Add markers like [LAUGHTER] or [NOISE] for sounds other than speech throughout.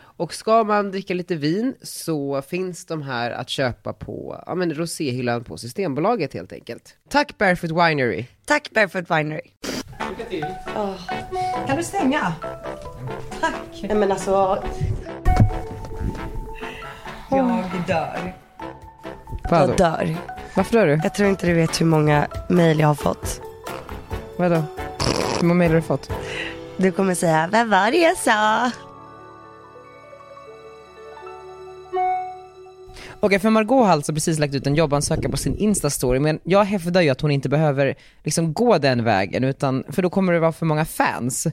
Och ska man dricka lite vin så finns de här att köpa på ja, men roséhyllan på Systembolaget helt enkelt. Tack Barefoot Winery! Tack Barefoot Winery. Kan du stänga? Tack. Mm. Nej men alltså... Jag dör. Jag dör. Varför dör du? Jag tror inte du vet hur många mejl jag har fått. Vadå? Hur många mejl har du fått? Du kommer säga, vad var det jag sa? Okej, för Margot har alltså precis lagt ut en jobbansökan på sin Insta-story, men jag hävdar ju att hon inte behöver liksom gå den vägen, utan, för då kommer det vara för många fans.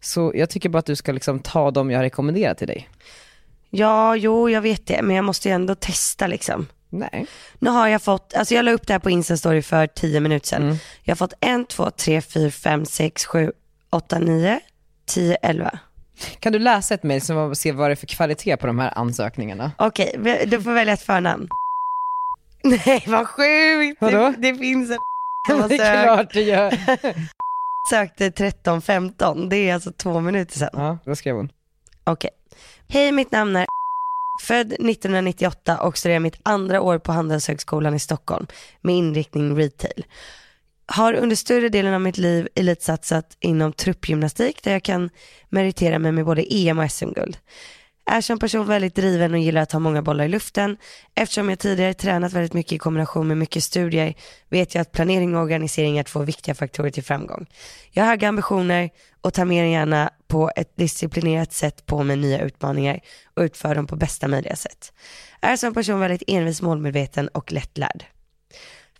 Så jag tycker bara att du ska liksom ta dem jag rekommenderar till dig. Ja, jo, jag vet det, men jag måste ju ändå testa liksom. Nej. Nu har jag fått, alltså jag la upp det här på Insta-story för 10 minuter sedan. Mm. Jag har fått 1, 2, 3, 4, 5, 6, 7, 8, 9, 10, 11. Kan du läsa ett mejl så man ser vad det är för kvalitet på de här ansökningarna? Okej, vi- du får välja ett förnamn. [LAUGHS] Nej, vad sjukt! Vadå? Det, det finns en som [LAUGHS] har Det är sökt, klart det gör. sökte 13, 15. Det är alltså två minuter sedan. Ja, då skrev hon. Okej. Hej, mitt namn är [LAUGHS] född 1998 och studerar mitt andra år på Handelshögskolan i Stockholm med inriktning retail. Har under större delen av mitt liv elitsatsat inom truppgymnastik där jag kan meritera mig med både EM och SM-guld. Är som person väldigt driven och gillar att ha många bollar i luften. Eftersom jag tidigare tränat väldigt mycket i kombination med mycket studier vet jag att planering och organisering är två viktiga faktorer till framgång. Jag har höga ambitioner och tar mer än gärna på ett disciplinerat sätt på mig nya utmaningar och utför dem på bästa möjliga sätt. Är som person väldigt envis, målmedveten och lättlärd.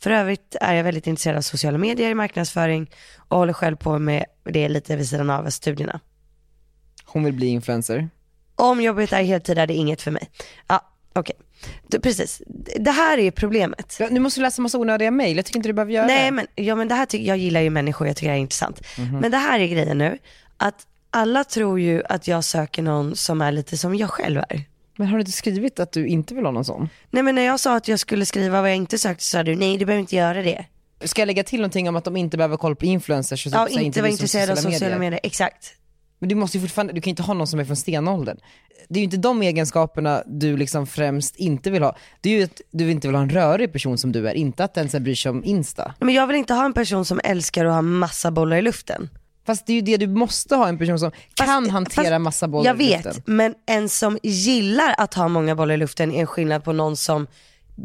För övrigt är jag väldigt intresserad av sociala medier, marknadsföring och håller själv på med det lite vid sidan av studierna. Hon vill bli influencer. Om jobbet är heltid är det inget för mig. Ja, okej. Du, Precis. Det här är problemet. Ja, nu måste du läsa massa onödiga mejl, jag tycker inte du behöver göra Nej det. men, ja, men det Mhm. här tycker, jag gillar ju människor, jag tycker det här är intressant. Men det här är grejen nu, att alla tror ju att jag söker någon som är lite som jag själv är. Men har du inte skrivit att du inte vill ha någon sån? Nej men när jag sa att jag skulle skriva vad jag inte sökte så sa du nej du behöver inte göra det. Ska jag lägga till någonting om att de inte behöver koll på influencers? Och typ Ja, så här, inte vara visar intresserad av sociala medier. Exakt. Men du måste ju fortfarande, du kan ju inte ha någon som är från stenåldern. Det är ju inte de egenskaperna du liksom främst inte vill ha. Det är ju att du inte vill ha en rörig person som du är, inte att den sen bryr sig om Insta. Men jag vill inte ha en person som älskar att ha massa bollar i luften. Fast- Fast det är ju det du måste ha, en person som kan hantera fast- massa bollar Jag i vet, luften. men en som gillar att ha många bollar i luften är en skillnad på någon som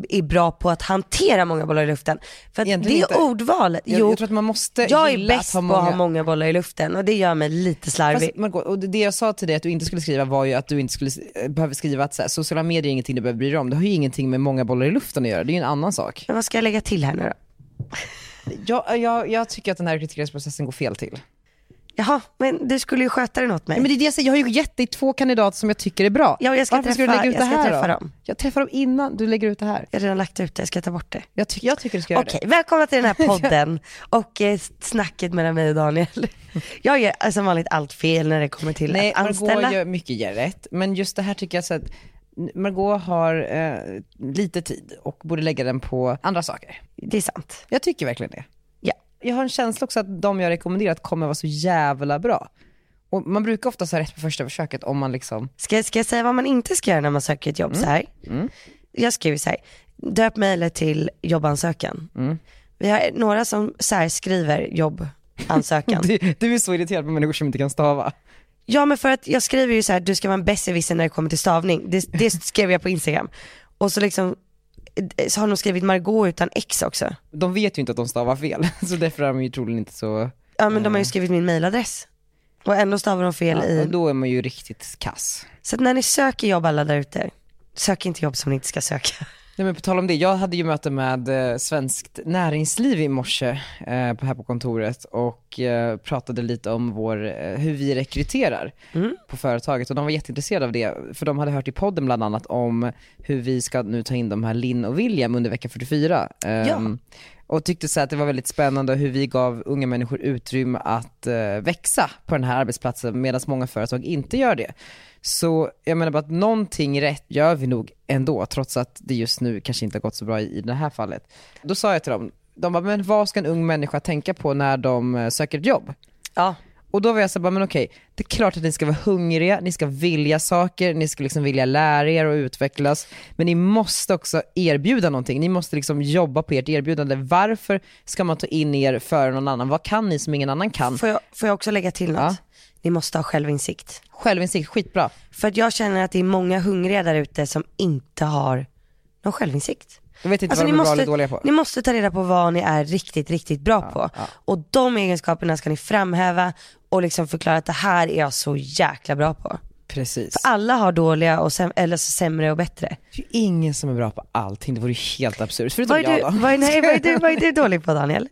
är bra på att hantera många bollar i luften. För att Egentligen det inte. ordvalet, Jag, jo, jag tror att man måste jag är gilla bäst att ha på att många ha många bollar i luften och det gör mig lite slarvig. Fast, Margot, och det- det jag sa till dig att du inte skulle skriva var ju att du inte skulle eh, behöva skriva att så här, sociala medier är ingenting du behöver bry dig om. Det har ju ingenting med många bollar i luften att göra, det är ju en annan sak. Men vad ska jag lägga till här nu då? Jag, eh, jag, jag tycker att den här rekryteringsprocessen går fel till. Jaha, men du skulle ju sköta den åt mig. Men det är det jag säger, jag har ju gett dig två kandidater som jag tycker är bra. Ja, och jag ska Varför ska du träffa- lägga ut jag det ska här träffa då? dem. Jag träffar dem innan du lägger ut det här. Jag har redan lagt ut det, jag ska ta bort det. Jag, ty- jag tycker du ska göra Okej, välkomna till den [LAUGHS] här podden och eh, snacket mellan mig och Daniel. [LAUGHS] Jag gör eh, som vanligt allt fel när det kommer till det. Nej, att anställa. Margot gör mycket gör rätt, men just det här tycker jag så att Margot har eh, lite tid och borde lägga den på andra saker. Det är sant. Jag tycker verkligen det. Ja. Jag har en känsla också att de jag rekommenderat kommer vara så jävla bra. Och man brukar ofta ha rätt på första försöket om man liksom, [LAUGHS] Ska, ska jag säga vad man inte ska göra när man söker ett jobb så här? Jag skriver så här, döp mejlet till jobbansökan. Vi har några som så här skriver [LAUGHS] jobbansökan. du, du är så irriterad på människor som inte kan stava. ja men för att jag skriver ju så här, du ska vara en besserwisser när det kommer till stavning. Det, det skrev jag på Instagram. Och så liksom, eh, så har de skrivit Margot utan X också. De vet ju inte att de stavar fel, [LAUGHS] så därför är de ju troligen inte så Ja men de har ju skrivit min mailadress. Och ändå stavar de fel Ja, och i. då är man ju riktigt kass. Så att när ni söker jobb alla där ute, sök inte jobb som ni inte ska söka. Nej, men på tal om det, jag hade ju möte med eh, Svenskt Näringsliv i morse eh, på- här på kontoret och eh, pratade lite om vår, eh, hur vi rekryterar Mm. på företaget och de var jätteintresserade av det för de hade hört i podden bland annat om hur vi ska nu ta in de här Linn och William under vecka 44. ehm, Ja. Och tyckte så här att det var väldigt spännande hur vi gav unga människor utrymme att eh, växa på den här arbetsplatsen medan många företag inte gör det. Så jag menar bara att någonting rätt gör vi nog ändå trots att det just nu kanske inte har gått så bra i, i det här fallet. Då sa jag till dem, de bara, men vad ska en ung människa tänka på när de eh, söker ett jobb? Ja. Och då var jag så här, bara, men okej, det är klart att ni ska vara hungriga, ni ska vilja saker, ni ska liksom vilja lära er och utvecklas. Men ni måste också erbjuda någonting, ni måste liksom jobba på ert erbjudande. Varför ska man ta in er före någon annan? Vad kan ni som ingen annan kan? Får, jag, får jag också lägga till något? Ja. Ni måste ha självinsikt. Självinsikt, skitbra. För att jag känner att det är många hungriga där ute som inte har någon självinsikt. Alltså, Jag vet inte vad de är bra eller dåliga på. ni måste ta reda på vad ni är riktigt, riktigt bra på. Och de egenskaperna ska ni framhäva och liksom förklara att det här är jag så jäkla bra på. Precis. Alla har dåliga och säm- eller så sämre och bättre. Det är ju ingen som är bra på allting, det vore ju helt absurt. Förutom Vad är, jag du, då. vad, är, nej, vad, är du, vad är [LAUGHS] du dålig på Daniel?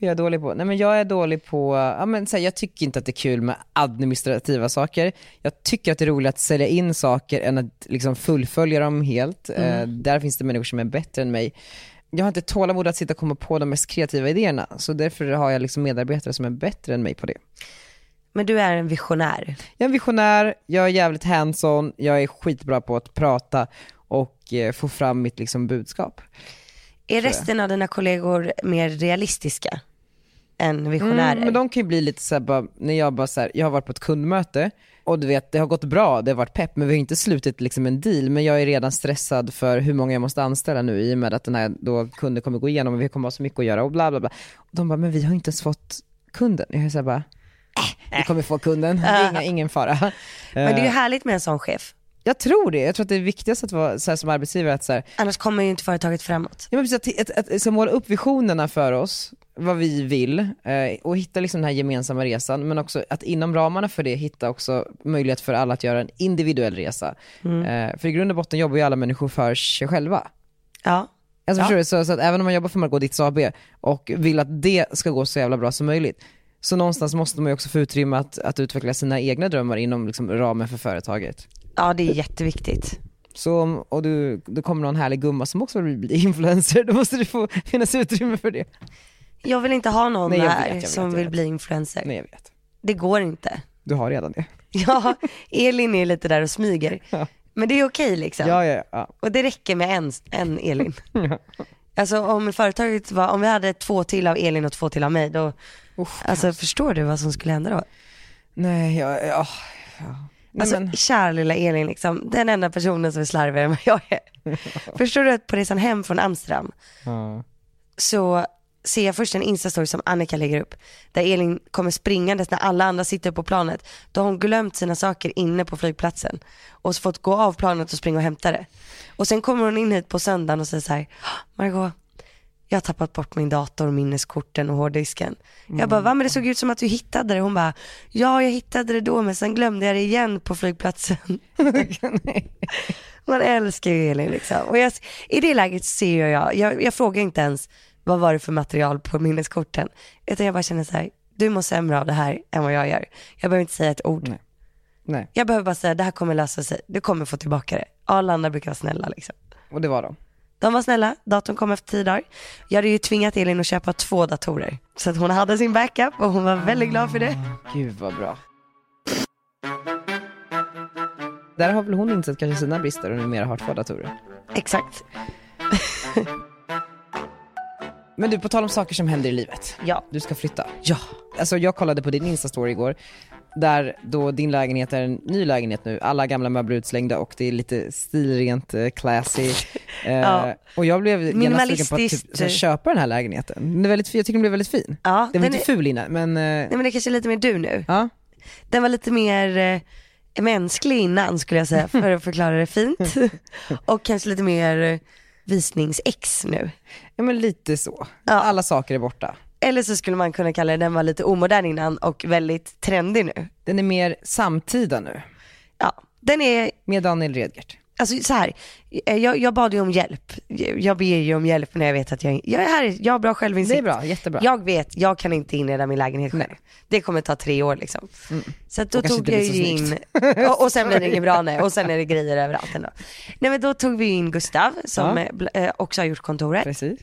jag är dålig på? Nej men jag är dålig på, ja, men, så här, jag tycker inte att det är kul med administrativa saker. Jag tycker att det är roligare att sälja in saker än att liksom, fullfölja dem helt. Eh, där finns det människor som är bättre än mig. Jag har inte tålamod att sitta och komma på de mest kreativa idéerna, så därför har jag liksom medarbetare som är bättre än mig på det. Men du är en visionär. Jag är en visionär, jag är jävligt hands-on, jag är skitbra på att prata och eh, få fram mitt liksom, budskap. Är resten av dina kollegor mer realistiska än visionärer? Mm, men de kan ju bli lite såhär, bara, när jag bara såhär, jag har varit på ett kundmöte och du vet det har gått bra, det har varit pepp men vi har inte slutit liksom en deal men jag är redan stressad för hur många jag måste anställa nu i och med att den här då kunden kommer gå igenom och vi kommer ha så mycket att göra och bla bla bla. Och de bara, men vi har inte ens fått kunden. Jag är såhär bara, äh, vi kommer få kunden, det är [LAUGHS] inga, ingen fara. Eh, Men det är ju härligt med en sån chef. Jag tror det, jag tror att det är viktigast att vara så här, som arbetsgivare att så här, Annars kommer ju inte företaget framåt. Ja, men precis, att, att, att, så måla upp visionerna för oss, vad vi vill eh, och hitta liksom den här gemensamma resan men också att inom ramarna för det hitta också möjlighet för alla att göra en individuell resa. Eh, för i grund och botten jobbar ju alla människor för sig själva. Ja. Alltså, Ja. förstår du? Så, så att även om man jobbar för Margot Ditts AB och vill att det ska gå så jävla bra som möjligt så någonstans måste man ju också få utrymme att, att utveckla sina egna drömmar inom liksom, ramen för företaget. ja, det är jätteviktigt. Så om och du, det kommer någon härlig gumma som också vill bli [LAUGHS] influencer, då måste det få finnas utrymme för det. Jag vill inte ha någon Nej, jag vet, här jag vet, som jag vill vet. bli influencer. Nej jag vet. Det går inte. Du har redan det. Ja, Elin är lite där och smyger. Ja. Men det är okej liksom. Ja, ja, ja. Och det räcker med en, en [LAUGHS] Elin. Alltså om företaget var, om vi hade två till av Elin och två till av mig då, Usch, alltså förstår du vad som skulle hända då? Nej, jag, ja, ja. Nej, Alltså men, kära lilla Elin liksom, den enda personen som är slarvigare än vad jag [LAUGHS] är. Förstår du att på resan hem från Amsterdam ja. så ser jag först en instastory som Annika lägger upp där Elin kommer springandes när alla andra sitter på planet. Då har hon glömt sina saker inne på flygplatsen och så fått gå av planet och springa och hämta det. Och sen kommer hon in hit på söndagen och säger så här, "Ah, Margot, jag har tappat bort min dator, minneskorten och hårddisken. Jag bara, va men det såg ut som att du hittade det. Hon bara, ja jag hittade det då men sen glömde jag det igen på flygplatsen. Man älskar ju Elin liksom. Och jag, i det läget ser jag, jag, jag frågar inte ens vad var det för material på minneskorten. Utan jag bara känner så här, du mår sämre av det här än vad jag gör. Jag behöver inte säga ett ord. Nej. Nej, Jag behöver bara säga, det här kommer lösa sig. Du kommer få tillbaka det. Alla andra brukar vara snälla liksom. och det var de. De var snälla, datorn kom efter tio dagar. Jag hade ju tvingat Elin att köpa två datorer. Så att hon hade sin backup och hon var väldigt glad för det. Gud vad bra. Där har väl hon insett kanske sina brister och numera har två datorer. Exakt, Men du, på tal om saker som händer i livet. ja. Du ska flytta. Ja. Alltså jag kollade på din Insta-story igår, där då din lägenhet är en ny lägenhet nu, alla gamla möbler är utslängda och det är lite stilrent, eh, [LAUGHS] classy. Eh, Ja. Och jag blev genast sugen på att typ, Minimalistiskt. så här, köpa den här lägenheten. Den är väldigt, fin- jag tycker den blev väldigt fin. ja Den var den lite är, ful innan, men eh, nej men det är kanske är lite mer du nu. ja. Den var lite mer eh, mänsklig innan skulle jag säga för att förklara det fint. [LAUGHS] Och kanske lite mer eh, visningsex nu. ja, men lite så. Ja. Alla saker är borta. Eller så skulle man kunna kalla det, den var lite omodern innan och väldigt trendig nu. Den är mer samtida nu, Ja, den är, med Daniel Redgert. Alltså så här, eh, jag, jag bad ju om hjälp. Jag jag ber ju om hjälp när jag vet att jag, jag är här, jag har bra självinsikt. Det är bra, jättebra. Jag vet, jag kan inte inreda min lägenhet själv. Nej. Mm. Det kommer ta tre år liksom. Så att då Och kanske tog inte jag blir ju så in, snyggt. [LAUGHS] och, och sen blir det [LAUGHS] inget bra nej, och sen är det grejer överallt ändå. Nej men då tog vi ju in Gustav som Ja. eh, bl- eh, också har gjort kontoret. Precis.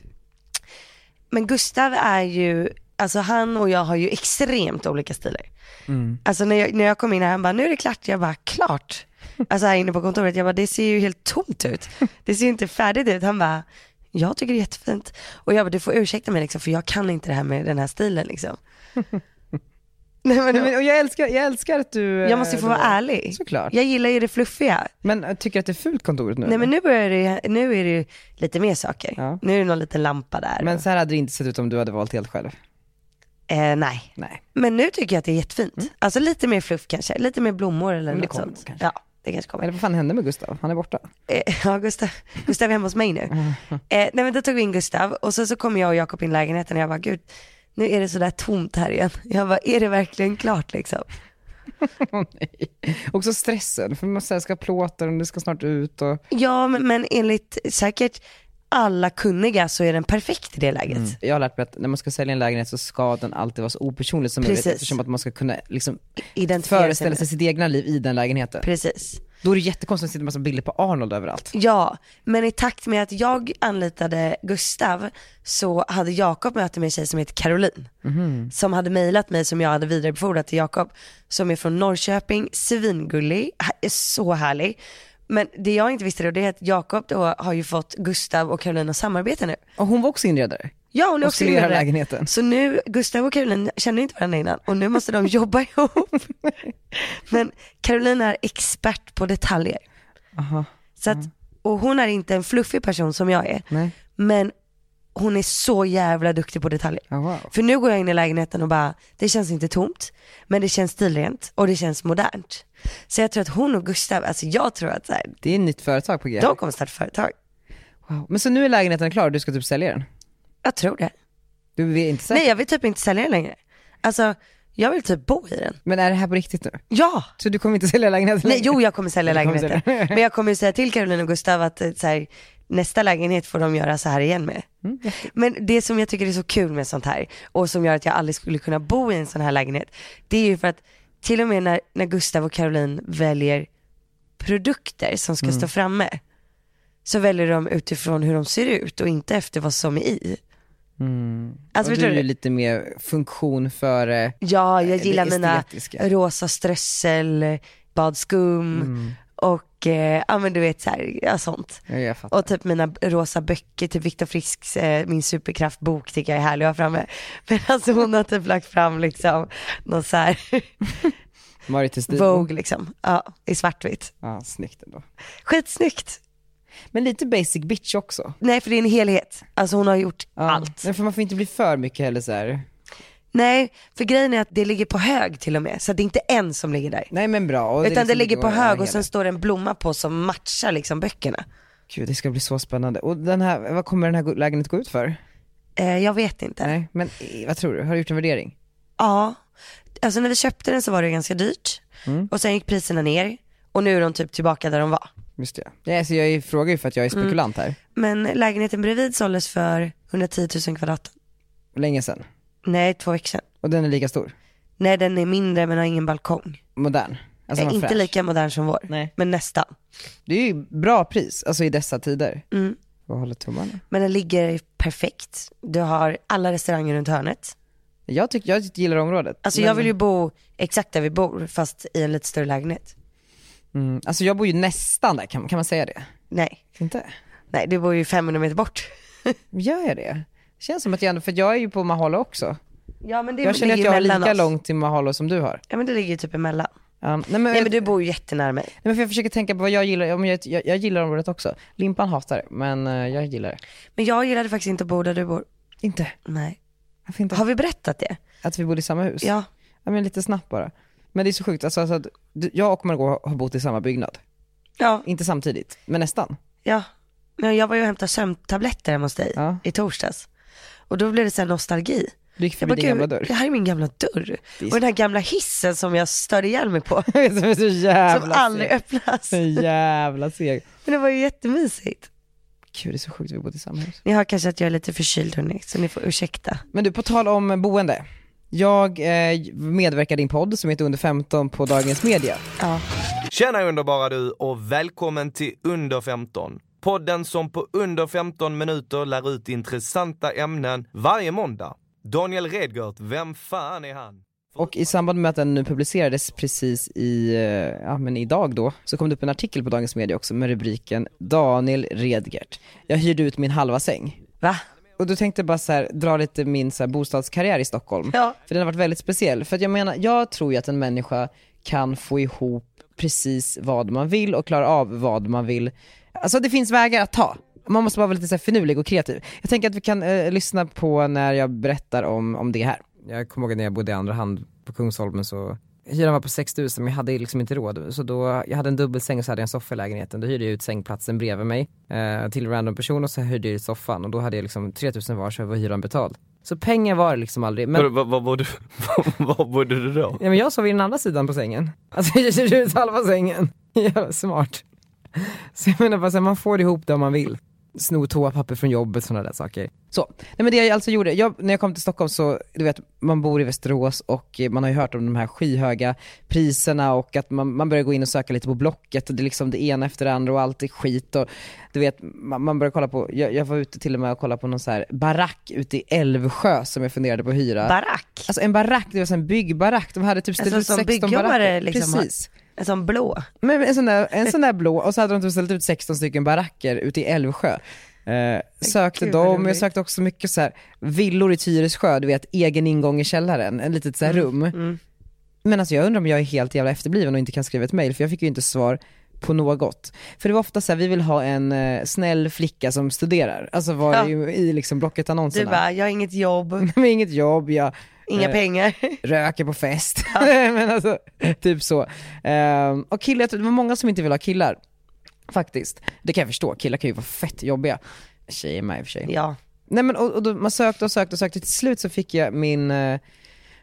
Men Gustav är ju, alltså han och jag har ju extremt olika stilar. Mm. Alltså när jag, när jag kom in här, han bara, nu är det klart. Jag bara, klart? Alltså här inne på kontoret, jag bara, det ser ju helt tomt ut. Det ser ju inte färdigt ut. Han bara, jag tycker det är jättefint. Och jag bara, du får ursäkta mig liksom, för jag kan inte det här med den här [LAUGHS] stilen liksom. Nej, men, Nej, men, och jag, älskar, jag älskar att du... eh, jag måste ju få då- vara ärlig. Såklart. Jag gillar ju det fluffiga. Men eh, tycker du att det är fult kontoret nu? Nej men eller? nu börjar det, nu är det ju lite mer saker. Ja. Nu är det någon liten lampa där. men så här hade det inte sett ut om du hade valt helt själv. eh, nej, Nej. Men nu tycker jag att det är jättefint. Alltså lite mer fluff kanske, lite mer blommor eller Mm. Men det något kommer sånt. kanske. Ja, det kanske kommer. Eller vad fan hände med Gustav? Han är [LAUGHS] borta. Eh, Ja, Gustav, Gustav är hemma hos mig nu. [LAUGHS] Eh, nej men då tog vi in Gustav och sen så kom jag och Jakob in i lägenheten och jag bara gud, nu är det sådär tomt här igen. [LAUGHS] Jag bara, är det verkligen klart liksom? Åh, nej. Också stressen, för man så här ska ha plåtar och det ska snart ut och... Ja, men, men enligt säkert alla kunniga så är den perfekt i det läget. Jag har lärt mig att när man ska sälja en lägenhet så ska den alltid vara så opersonlig som möjligt Precis. eftersom att man ska kunna liksom Identifiera sig föreställa med- sig sitt egna liv i den lägenheten. Precis. Då är det jättekonstigt att det sitter en massa bilder på Arnold överallt. Ja, men i takt med att jag anlitade Gustav så hade Jakob möte med en tjej som heter Caroline. Mhm. Som hade mejlat mig som jag hade vidarebefordrat till Jakob. Som är från Norrköping, svingullig, ha- är så härlig. Men det jag inte visste då det är att Jakob då har ju fått Gustav och Caroline att samarbeta nu. Och hon var också inredare. Ja hon är Och också skulle göra inbjuden. lägenheten. Så nu, Gustav och Caroline känner inte varandra innan och nu måste de jobba [LAUGHS] [LAUGHS] ihop. Men Caroline är expert på detaljer. Aha. Så att, och hon är inte en fluffig person som jag är. Nej. Men hon är så jävla duktig på detaljer. Ja, wow. För nu går jag in i lägenheten och bara, det känns inte tomt, men det känns stilrent och det känns modernt. Så jag tror att hon och Gustav, alltså jag tror att så här, Det är ett nytt företag på G. de kommer starta företag. Wow. Men så nu är lägenheten klar och du ska typ sälja den? Jag tror det. Du är inte säker? Nej jag vill typ inte sälja den längre. Alltså jag vill typ bo i den. Men är det här på riktigt nu? Ja! Så du kommer inte sälja lägenheten Nej, längre? jo jag kommer sälja Du kommer lägenheten. sälja. Men jag kommer ju säga till Caroline och Gustav att eh, så här, nästa lägenhet får de göra så här igen med. Mm, Men det som jag tycker är så kul med sånt här och som gör att jag aldrig skulle kunna bo i en sån här lägenhet. Det är ju för att till och med när, när Gustav och Caroline väljer produkter som Mm. ska stå framme. Så väljer de utifrån hur de ser ut och inte efter vad som är i. Alltså, och förstår du är ju du? lite mer funktion för... eh, Ja, jag det gillar mina estetiska. rosa strössel, badskum Mm. och eh, ja men du vet så här, ja, sånt. Ja, jag fattar. Och typ mina rosa böcker, typ Viktor Frisks eh, Min superkraftbok tycker jag är härlig att ha framme. [LAUGHS] Men alltså hon har typ lagt fram liksom någon så här Marit Westin. Vogue liksom, ja, i svartvitt. Ja, snyggt ändå. Skitsnyggt. Men lite basic bitch också. Nej för det är en helhet, alltså hon har gjort Ja. allt. Nej, för man får inte bli för mycket heller så här. Nej, för grejen är att det ligger på hög till och med, så det är inte en som ligger där. Nej men bra. Och är Utan det liksom ligger lite på vad jag hög gillar. och sen står det en blomma på som matchar liksom böckerna. Gud det ska bli så spännande. Och den här, vad kommer den här go- lägenheten gå ut för? Eh, jag vet inte. Nej men eh, vad tror du? Har du gjort en värdering? Ja, alltså när vi köpte den så var det ganska dyrt Mm. och sen gick priserna ner och nu är de typ tillbaka där de var. Just det. Nej så jag är- frågar ju för att jag är Mm. spekulant här. Men lägenheten bredvid såldes för 110 000 kvadrat. Länge sedan. Nej, två veckor sedan. Och den är lika stor. Nej, den är mindre men har ingen balkong. Modern. Alltså Eh, den var inte fräsch. lika modern som vår, Nej. men nästan. Det är ju bra pris, alltså i dessa tider. Mm. Jag håller tummarna. Men den ligger perfekt. Du har alla restauranger runt hörnet. Jag, tycker, jag gillar området. Alltså Men- jag vill ju bo exakt där vi bor fast i en lite större lägenhet. mm, alltså jag bor ju nästan där, kan, kan man säga det? Nej, Inte? nej du bor ju 500 meter bort. Gör jag det? Känns som att jag ändå, för jag är ju på Mahalo också. Ja men det Jag känner att ligger jag har mellan lika oss. långt till Mahalo som du har. Ja men det ligger ju typ emellan. Um, nej, men, Nej men du bor ju jättenära mig. nej, men för jag försöker tänka på vad jag gillar, Ja, men jag, jag, jag gillar området också. Limpan hatar det, men eh, jag gillar det. Men jag gillade faktiskt inte att bo där du bor. Inte? Nej. Varför inte? Har vi berättat det? Att vi bodde i samma hus? Ja. ja men lite snabbt bara. Men det är så sjukt, alltså, alltså att du, jag och Margot har bott i samma byggnad. Ja. Inte samtidigt, men nästan. Ja. Men jag var ju och hämtade sömntabletter hemma hos dig Ja. i torsdags. Och då blev det så här nostalgi. Du gick Jag förbi bara, din gamla gud, dörr. [LAUGHS] det här är min gamla dörr. Det är Och den här gamla hissen som jag störde ihjäl mig på. Som är så som jävla aldrig seg. öppnas. Så jävla seg. Men det var ju jättemysigt. Gud det är så sjukt att vi bodde i samma hus. Ni hör kanske att jag är lite förkyld hörni, så ni får ursäkta. Men du, på tal om boende. Jag eh, medverkar i din podd som heter Under 15 på Dagens Media. Ja. Tjena underbara du och välkommen till Under 15. Podden som på under 15 minuter lär ut intressanta ämnen varje måndag. Daniel Redgert, vem fan är han? Och i samband med att den nu publicerades precis i, eh, ja men idag då, så kom det upp en artikel på Dagens Media också med rubriken Daniel Redgert. Jag hyrde ut min halva säng. Va? Och då tänkte jag bara så här, dra lite min så här, bostadskarriär i Stockholm. Ja. För den har varit väldigt speciell. För att jag menar, jag tror ju att en människa kan få ihop precis vad man vill och klara av vad man vill. Alltså det finns vägar att ta. Man måste bara vara lite så här finurlig och kreativ. Jag tänker att vi kan eh, lyssna på när jag berättar om, om det här. Jag kommer ihåg när jag bodde i andra hand på Kungsholmen så Hyran var på 6 000 men jag hade liksom inte råd. Så då, jag hade en dubbelsäng och så hade jag en soffa i lägenheten. Då hyrde jag ut sängplatsen bredvid mig eh, till en random person och så hyrde jag ut soffan. Och då hade jag liksom 3 000 var så var hyran betald. Så pengar var det liksom aldrig. Men Var, var, [LAUGHS] bodde, var, var bodde du då? Ja men jag sov vid den andra sidan på sängen. Alltså jag kör ut halva sängen. [LAUGHS] Jävla smart. Så jag menar bara så här, man får ihop det om man vill. Sno toapapper från jobbet, sådana där saker. Så, nej men det jag alltså gjorde, jag, när jag kom till Stockholm så, du vet, man bor i Västerås och eh, man har ju hört om de här skyhöga priserna och att man, man börjar gå in och söka lite på Blocket och det är liksom det ena efter det andra och allt är skit och du vet, man, man börjar kolla på, jag, jag var ute till och med och kollade på någon så här barack ute i Älvsjö som jag funderade på att hyra. Barack. Alltså en barack, det var så en byggbarack, de hade typ ställt Alltså, som ut 16 byggjobbare baracker. liksom har- Precis. En sån blå. Men en sån, där, en sån där blå, och så hade de typ ställt ut 16 stycken baracker ute i Älvsjö. Eh, sökte Gud, vad dem, jag roligt. sökte också mycket så här villor i Tyresjö, du vet egen ingång i källaren, en litet så här Mm. rum. Men alltså jag undrar om jag är helt jävla efterbliven och inte kan skriva ett mail för jag fick ju inte svar på något. För det var ofta så här, vi vill ha en eh, snäll flicka som studerar. Alltså var Ja. det ju i liksom Du Blocket-annonserna. bara, jag har inget jobb, [LAUGHS] Med inget jobb, jag inga Eh. pengar. röker på fest. [LAUGHS] [LAUGHS] men alltså, typ så. Ehm, och killar, jag tror det var många som inte vill ha killar. Faktiskt. Det kan jag förstå, killar kan ju vara fett jobbiga. Tjejer med i och för sig. Ja. Nej men och, och då, man sökte och sökte och sökte, till slut så fick jag min, eh,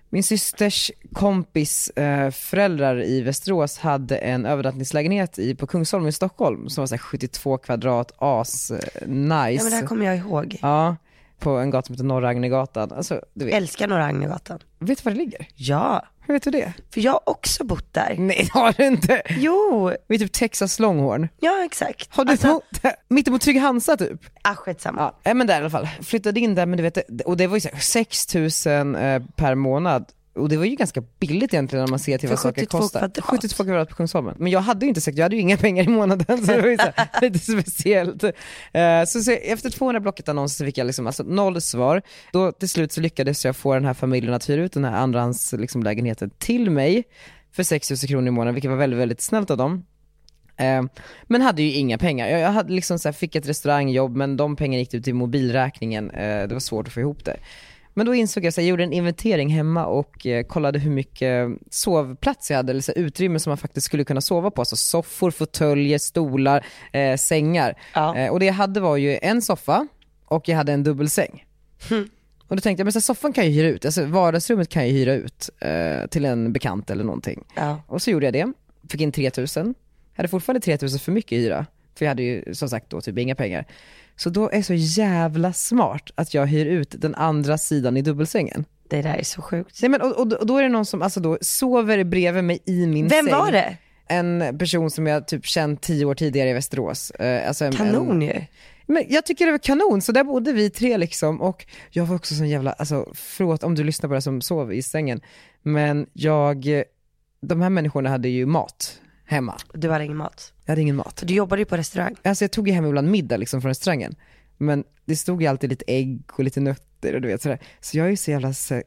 min systers kompis eh, föräldrar i Västerås hade en övernattningslägenhet i, på Kungsholmen i Stockholm som var så här 72 kvadrat, as, eh, ja, men det här nice. kommer jag ihåg. Ja, på en gata som heter Norra Agnegatan. Alltså, du vet, Älskar Norra Agnegatan. vet du var det ligger? Ja, Hur vet du det? för jag har också bott där. Nej det har du inte. Jo, Vi är typ Texas Longhorn. ja exakt. Har du alltså, bott där? Mittemot Trygg Hansa typ? ah, skitsamma. Ja, äh, men där i alla fall. Flyttade in där men du vet, det- och det var ju så här 6 000 eh, per månad. Och det var ju ganska billigt egentligen när man ser till För vad saker 72 kostar. kvadrat. 72 kvadrat på Kungsholmen. Men jag hade ju inte sagt, jag hade ju inga pengar i månaden så det var ju så här, lite speciellt. Eh, så, så efter 200 Blocket-annonser så fick jag liksom, alltså noll svar. Då till slut så lyckades jag få den här familjen att hyra ut den här andrahands liksom, lägenheten till mig för 6 000 kronor i månaden vilket var väldigt, väldigt snällt av dem. Eh, Men hade ju inga pengar. Jag, jag hade liksom så här, fick ett restaurangjobb men de pengarna gick ut till mobilräkningen. Eh, Det var svårt att få ihop det. Men då insåg jag, så här, jag gjorde en inventering hemma och eh, kollade hur mycket sovplats jag hade, eller så här, utrymme som man faktiskt skulle kunna sova på. Alltså soffor, fåtöljer, stolar, eh, sängar. Ja. Eh, och det jag hade var ju en soffa och jag hade en dubbelsäng. Och då tänkte jag, men så här, soffan kan jag hyra ut, alltså vardagsrummet kan jag hyra ut eh, till en bekant eller någonting. Ja. Och så gjorde jag det, fick in 3000. Jag hade fortfarande 3000 för mycket i hyra. För jag hade ju som sagt då typ inga pengar. Så då är det så jävla smart att jag hyr ut den andra sidan i dubbelsängen. Det där är så sjukt. Nej, men, och, och, och då är det någon som alltså då sover bredvid mig i min Vem säng. var det? En person som jag typ känt tio år tidigare i Västerås. Eh, alltså en, En, Kanon ju. men jag tycker det var kanon, så där bodde vi tre liksom och jag var också sån jävla, alltså förlåt om du lyssnar på det som sov i sängen, men jag, de här människorna hade ju mat hemma. Du hade ingen mat. Jag hade ingen mat. För du jobbade ju på restaurang. Alltså jag tog ju hem ibland middag liksom från restaurangen, men det stod ju alltid lite ägg och lite nötter och du vet sådär. Så jag är ju så jävla, så...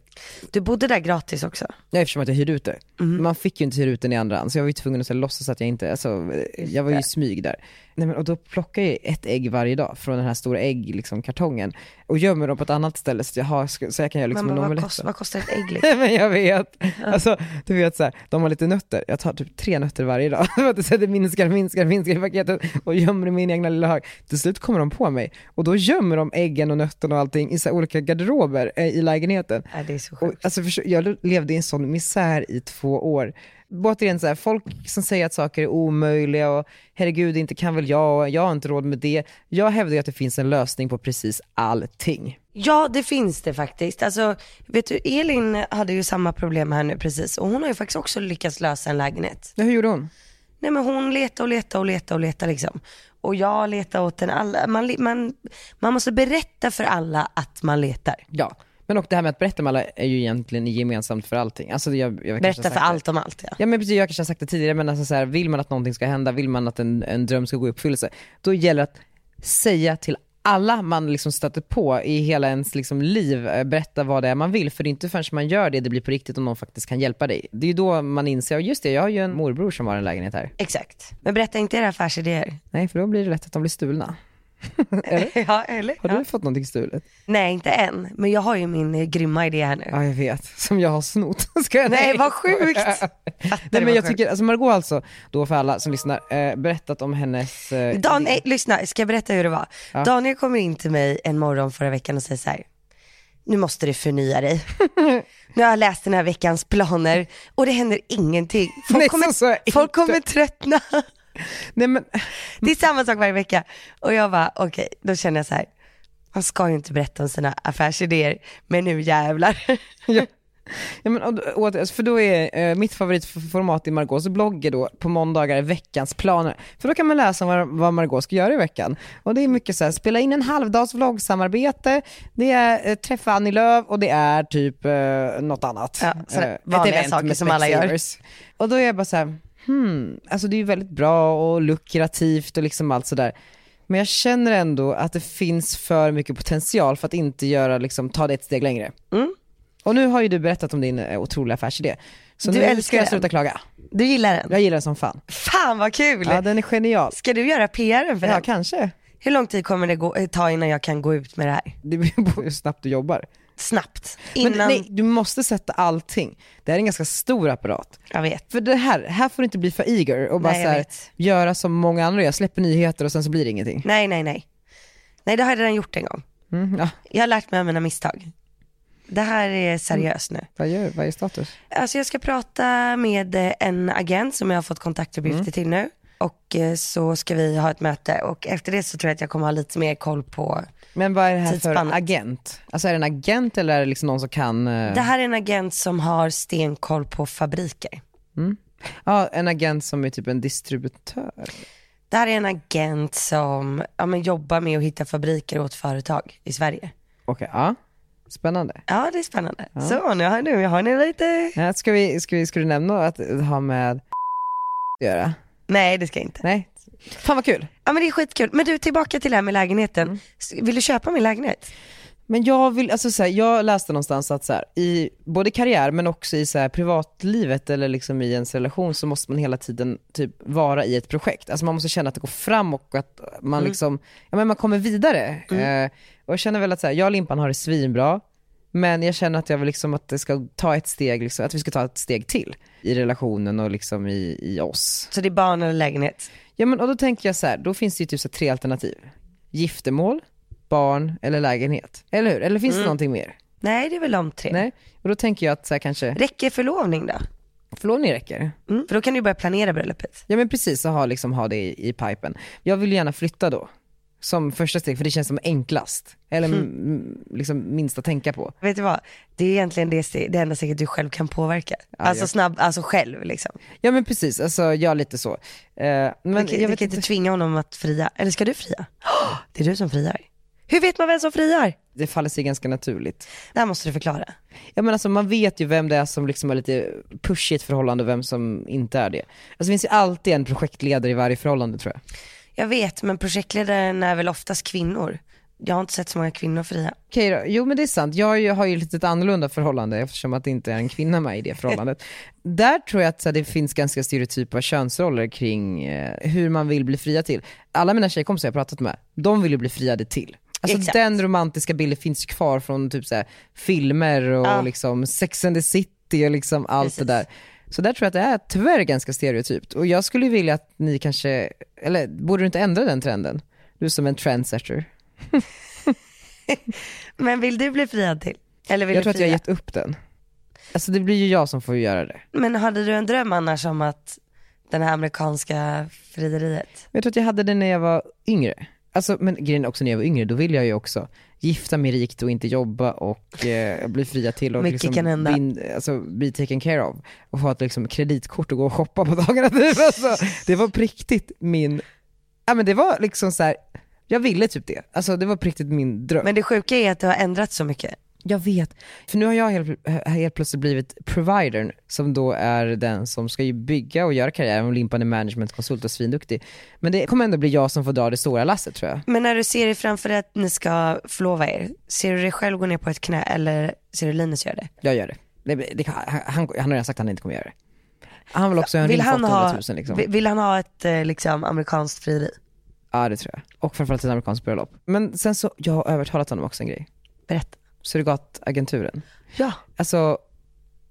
Du bodde där gratis också. ja eftersom att jag hyrde ut det. Mm. Man fick ju inte hyra ut den i andra hand, så jag var ju tvungen att så här, låtsas att jag inte, alltså eh, jag var ju i smyg där. Nej, men, och då plockar jag ett ägg varje dag från den här stora äggkartongen liksom, kartongen och gömmer dem på ett annat ställe så jag, har, så jag kan göra liksom, men en vad, omelett. kost, av. vad kostar ett ägg [LAUGHS] Nej [LAUGHS] liksom? men jag vet. Alltså, du vet så här, de har lite nötter. Jag tar typ tre nötter varje dag. [LAUGHS] För att det så det minskar, minskar, minskar i paketet och gömmer i min egna lilla hög. Till slut kommer de på mig och då gömmer de äggen och nötterna och allting i så här olika garderober eh, i lägenheten. Nej, det är så Och, sjukt. alltså, förstå- jag levde i en sån misär i två år. Återigen, så här, folk som säger att saker är omöjliga och herregud, inte kan väl jag och jag har inte råd med det. Jag hävdar ju att det finns en lösning på precis allting. Ja det finns det faktiskt. Alltså, vet du Elin hade ju samma problem här nu precis och hon har ju faktiskt också lyckats lösa en lägenhet. Ja, hur gjorde hon? Nej men hon letar och letar och letar och letar liksom. Och jag letar åt den alla. Man, le- man, man måste berätta för alla att man letar. Ja, men och det här med att berätta om alla är ju egentligen gemensamt för allting. Alltså, jag, jag kanske har Berätta sagt för det. allt om allt ja. Ja men precis, jag kanske har sagt det tidigare men alltså så här, vill man att någonting ska hända, vill man att en, en dröm ska gå i uppfyllelse, då gäller det att säga till alla man liksom stöter på i hela ens liksom liv, eh, berätta vad det är man vill. För det är inte förrän man gör det det blir på riktigt om någon faktiskt kan hjälpa dig. Det är ju då man inser, "Ja, just det jag har ju en morbror som har en lägenhet här. Exakt. Men berätta inte era affärsidéer. Nej för då blir det lätt att de blir stulna. [LAUGHS] ja eller? Har Ja. du fått någonting stulet? Nej inte än. Men jag har ju min eh, grymma idé här nu. Ja jag vet, som jag har snott. [LAUGHS] Ska jag Nej [LAUGHS] vad sjukt. Fattar Nej, du men vad jag sjukt? tycker, alltså Margot har alltså, då för alla som lyssnar, eh, berättat om hennes... Eh, Dan, nej, lyssna, ska jag berätta hur det var? Daniel kom in till mig en morgon förra veckan och säger så här, nu måste du förnya dig. [LAUGHS] nu har jag läst den här veckans planer och det händer ingenting. Folk, Nej, kommer, så sa jag inte. folk kommer tröttna. [LAUGHS] nej men, det är samma sak varje vecka. Och jag bara, okej, då känner jag så här, man ska ju inte berätta om sina affärsidéer, men nu jävlar. [LAUGHS] ja. Ja, men, och, åter, alltså, för då är eh, mitt favoritformat i Margaux blogg är då på måndagar veckans planer. För då kan man läsa vad, vad Margaux ska göra i veckan. Och det är mycket så här, spela in en halvdags vloggsamarbete, det är eh, träffa Annie Lööf och det är typ eh, något annat. Eh, Ja, sådär ett vanliga event saker med som alla gör. Specsavers. Och då är jag bara så här, hmm, alltså det är ju väldigt bra och lukrativt och liksom allt sådär. Men jag känner ändå att det finns för mycket potential för att inte göra, liksom, ta det ett steg längre. Och nu har ju du berättat om din eh, otroliga affärsidé. Så Du nu älskar ska jag den. sluta klaga. Du gillar den? Jag gillar den som fan. Fan vad kul! Ja, den är genial. Ska du göra PR för Ja, den? kanske. Hur lång tid kommer det gå, eh, ta innan jag kan gå ut med det här? Det beror på hur snabbt du jobbar. Snabbt, Men innan nej, du måste sätta allting. Det här är en ganska stor apparat. jag vet. För det här, här får du inte bli för eager och bara Nej, så jag här, vet. göra som många andra gör, släpper nyheter och sen så blir det ingenting. Nej, nej, nej. Nej, det har jag redan gjort en gång. Mm, ja. Jag har lärt mig av mina misstag. Det här Mm. är seriöst nu. Vad gör Vad är status? Alltså jag ska prata med eh, en agent som jag har fått kontaktuppgifter Mm. till nu. Och eh, så ska vi ha ett möte och efter det så tror jag att jag kommer ha lite mer koll på. Men vad är det här för Tidsspannet. agent? Alltså är det en agent eller är det liksom någon som kan... eh, Det här är en agent som har stenkoll på fabriker. Ja, en agent som är typ en distributör. Det här är en agent som ja, men jobbar med att hitta fabriker åt företag i Sverige. Okej, ja. Spännande. Ja, det är spännande. Så nu har, nu har ni lite... Ja, ska, vi, ska, vi, ska du nämna att det har med att göra? Nej, det ska jag inte. Nej? Fan vad kul. Ja men det är skitkul. Men du tillbaka till det här med lägenheten. Mm. S- Vill du köpa min lägenhet? Men jag vill, alltså så här, jag läste någonstans att så här, i både karriär men också i så här, privatlivet eller liksom i ens relation så måste man hela tiden typ vara i ett projekt. Alltså man måste känna att det går fram och att man liksom, ja men man kommer vidare. Eh, och jag känner väl att så här, jag och Limpan har det svinbra. Men jag känner att jag vill liksom att det ska ta ett steg, liksom, att vi ska ta ett steg till i relationen och liksom i, i oss. Så det är barn eller lägenhet? Ja men och då tänker jag så här, då finns det ju typ så här tre alternativ. Giftermål, barn eller lägenhet. Eller hur? Eller finns Mm. det någonting mer? Nej det är väl de tre. Nej? Och då tänker jag att så här kanske, Räcker förlovning då? förlovning räcker. Mm. För då kan du börja planera bröllopet. Ja men precis, och ha, liksom, ha det i, i pipen. Jag vill ju gärna flytta då. Som första steg, för det känns som enklast. Eller Mm. m- liksom minst att tänka på. Vet du vad? Det är egentligen det, ste- det enda steget du själv kan påverka. alltså jag- snabb, alltså själv liksom. Ja men precis, alltså jag är lite så. Eh, men du kan, jag du vet kan inte tvinga honom att fria. Eller ska du fria? [GASPS] Åh, det är du som friar. Hur vet man vem som friar? det faller sig ganska naturligt. Det här måste du förklara. Ja men alltså man vet ju vem det är som liksom är lite pushigt i ett förhållande och vem som inte är det. Alltså det finns ju alltid en projektledare i varje förhållande tror jag. Jag vet, men projektledaren är väl oftast kvinnor. Jag har inte sett så många kvinnor fria. Okej då. Jo men det är sant. Jag har ju, har ju lite ett annorlunda förhållande eftersom att det inte är en kvinna med i det [LAUGHS] förhållandet. Där tror jag att så här, det finns ganska stereotypa könsroller kring eh, hur man vill bli fria till. Alla mina tjejkompisar jag pratat med, de vill ju bli friade till. Alltså Exakt. den romantiska bilden finns ju kvar från typ så här, filmer och Ja. liksom Sex and the City och liksom allt Precis. det där. Så där tror jag att det är tyvärr ganska stereotypt. Och jag skulle vilja att ni kanske, eller borde du inte ändra den trenden? Du som en trendsetter. Men vill du bli friad till? Eller vill Jag du tror att jag har fria? gett upp den. Alltså det blir ju jag som får göra det. Men hade du en dröm annars om att den här amerikanska frieriet? Men jag tror att jag hade det när jag var yngre. Alltså, men grejen är också när jag var yngre, då ville jag ju också gifta mig rikt och inte jobba och eh, bli fria till och Mycket kan hända. bin, alltså, bli taken care of. Och ha ett liksom, kreditkort och gå och shoppa på dagarna [LAUGHS] typ. Alltså, det var på riktigt min, ja men det var liksom så här. jag ville typ det. Alltså det var på riktigt min dröm. Men det sjuka är att du har ändrat så mycket. Jag vet, för nu har jag helt, eh, helt plötsligt blivit providern som då är den som ska ju bygga och göra karriär, och Limpan är managementkonsult och svinduktig. Men det kommer ändå bli jag som får dra det stora lasset tror jag. Men när du ser dig framför dig att ni ska förlova er, ser du dig själv gå ner på ett knä eller ser du Linus göra det? Jag gör det. det, det han, han, han har redan sagt att han inte kommer göra det. Han vill också ha en Vill ring på han, ha, 800 000 liksom. vill- vill han ha ett eh, liksom, amerikanskt frieri? Ja det tror jag. Och framförallt ett amerikanskt bröllop. Men sen så, jag har övertalat honom också en grej. Berätta. Surrogatagenturen. Ja. alltså,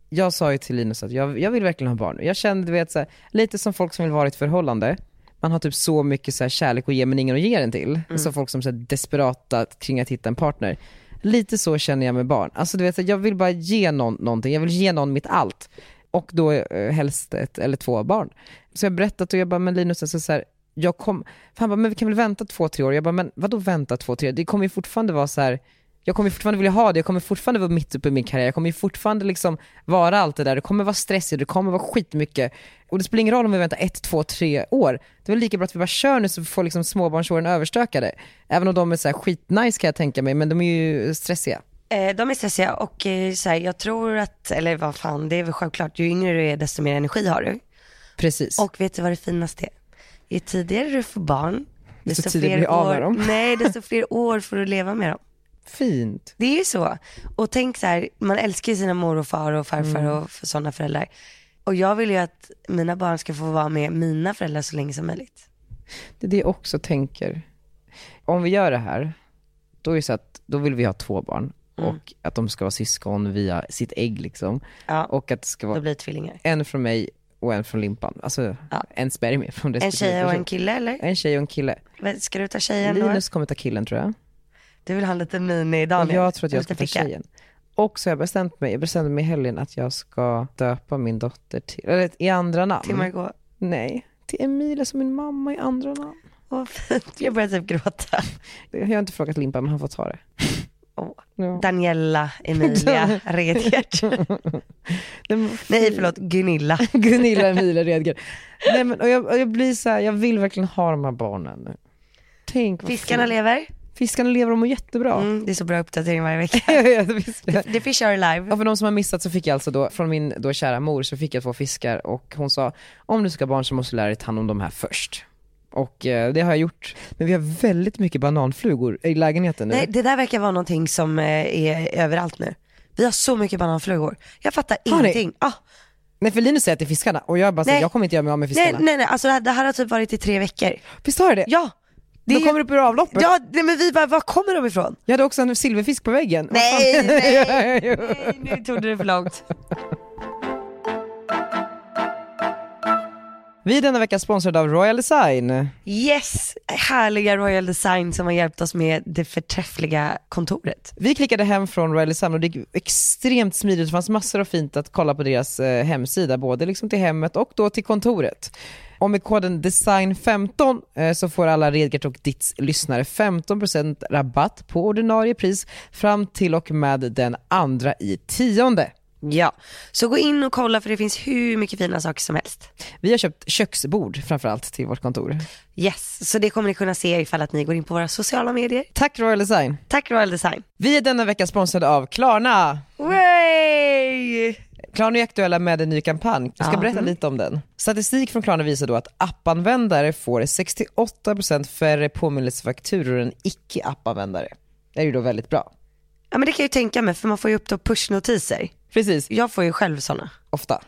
jag sa ju till Linus att jag, jag vill verkligen ha barn. Jag kände, du vet, så här, lite som folk som vill vara i ett förhållande. Man har typ så mycket så här, kärlek att ge men ingen att ge den till. Alltså folk som är desperata kring att hitta en partner. Lite så känner jag med barn. Alltså du vet, så här, jag vill bara ge någon någonting. Jag vill ge någon mitt allt. Och då eh, helst ett eller två barn. Så jag har berättat och jag bara, men Linus, alltså, så här, jag kom, för han bara, men vi kan väl vänta två, tre år? Jag bara, men vadå vänta två, tre år? Det kommer ju fortfarande vara så här, jag kommer fortfarande vilja ha det, jag kommer fortfarande vara mitt uppe i min karriär, jag kommer ju fortfarande liksom vara allt det där, det kommer vara stressigt, det kommer vara skitmycket. Och det spelar ingen roll om vi väntar ett, två, tre år. Det är väl lika bra att vi bara kör nu så vi får liksom småbarnsåren överstökade. Även om de är så här skitnice kan jag tänka mig, men de är ju stressiga. Eh, de är stressiga och eh, så här, jag tror att, eller vad fan, det är väl självklart, ju yngre du är desto mer energi har du. Precis. Och vet du vad det finaste är? Ju tidigare du får barn, Desto tidigare blir du av med år, dem. [LAUGHS] Nej, desto fler år får du leva med dem. Fint. Det är ju så. Och tänk så här, man älskar ju sina mor och far och farfar Mm. och för sådana föräldrar. Och jag vill ju att mina barn ska få vara med mina föräldrar så länge som möjligt. Det är det jag också tänker. Om vi gör det här, då är det så att då vill vi ha två barn. Och att de ska vara syskon via sitt ägg liksom. Ja, Och att det ska vara då blir det tvillingar. en från mig och en från Limpan. Alltså Ja. en spermie från En respektive tjej och en person. kille eller? En tjej och en kille. Vad- Ska du ta tjejen då? Linus kommer ta killen tror jag. Du vill ha en liten Och mini-Daniel? jag tror att En jag ska ta liten flicka. tjejen. Och så har jag bestämt mig, jag bestämde mig i helgen att jag ska döpa min dotter till, eller i andra namn. Till Margot. Nej, till Emilia som min mamma i andra namn. Åh fint, jag börjar typ gråta. Det- Jag har inte frågat Limpan men han får ta det. Åh. Ja. [LAUGHS] [LAUGHS] Daniela, Emilia, Redgert. Den- Nej förlåt, Gunilla. Gunilla Emilia Redgren. Nej men och jag, och jag blir så här, jag vill verkligen ha de här barnen nu. Tänk vad Fiskarna fint. lever. Fiskarna lever, de mår jättebra. [LAUGHS] Mm, det är så bra uppdatering varje vecka. Jag vet, visst är det. [LAUGHS] The Fish Are Alive. Ja, för de som har missat så fick jag alltså då, från min då kära mor så fick jag två fiskar och hon sa, om du ska ha barn så måste du lära dig ta hand om de här först. Och eh, det har jag gjort. Men vi har väldigt mycket bananflugor i lägenheten nu. Nej, det där verkar vara någonting som eh, är överallt nu. Vi har så mycket bananflugor. Jag fattar Har ni? ingenting. Ah, Nej för Linus säger att det är fiskarna och jag bara säger Nej. jag kommer inte göra mig av med nej, fiskarna. nej, nej. Alltså, det här- det här har typ varit i tre veckor. Visst har jag det? Ja, det de är ju- kommer upp ur avloppet. ja nej, men vi bara, var kommer de ifrån? Jag hade också en silverfisk på väggen. Vad Nej, fan? [LAUGHS] nej, nej, nu tog du det för långt. Vi är denna vecka sponsrade av Royal Design. Yes, härliga Royal Design som har hjälpt oss med det förträffliga kontoret. Vi klickade hem från Royal Design och det gick extremt smidigt. Det fanns massor av fint att kolla på deras eh, hemsida, både liksom till hemmet och då till kontoret. Och med koden DESIGN15 eh, så får alla Redgert och Ditts lyssnare 15% rabatt på ordinarie pris fram till och med den andra i tionde. Ja, så gå in och kolla för det finns hur mycket fina saker som helst. Vi har köpt köksbord framförallt till vårt kontor. Yes, så det kommer ni kunna se ifall att ni går in på våra sociala medier. Tack Royal Design! Tack Royal Design. Vi är denna vecka sponsrade av Klarna. Way! Klarna är aktuella med en ny kampanj. Jag ska Ja. berätta lite om den. Statistik från Klarna visar då att appanvändare får 68% färre påminnelsefakturor än icke-appanvändare. Det är ju då väldigt bra. Ja men det kan jag ju tänka mig för man får ju upp då pushnotiser. Precis, Jag får ju själv sådana. ofta.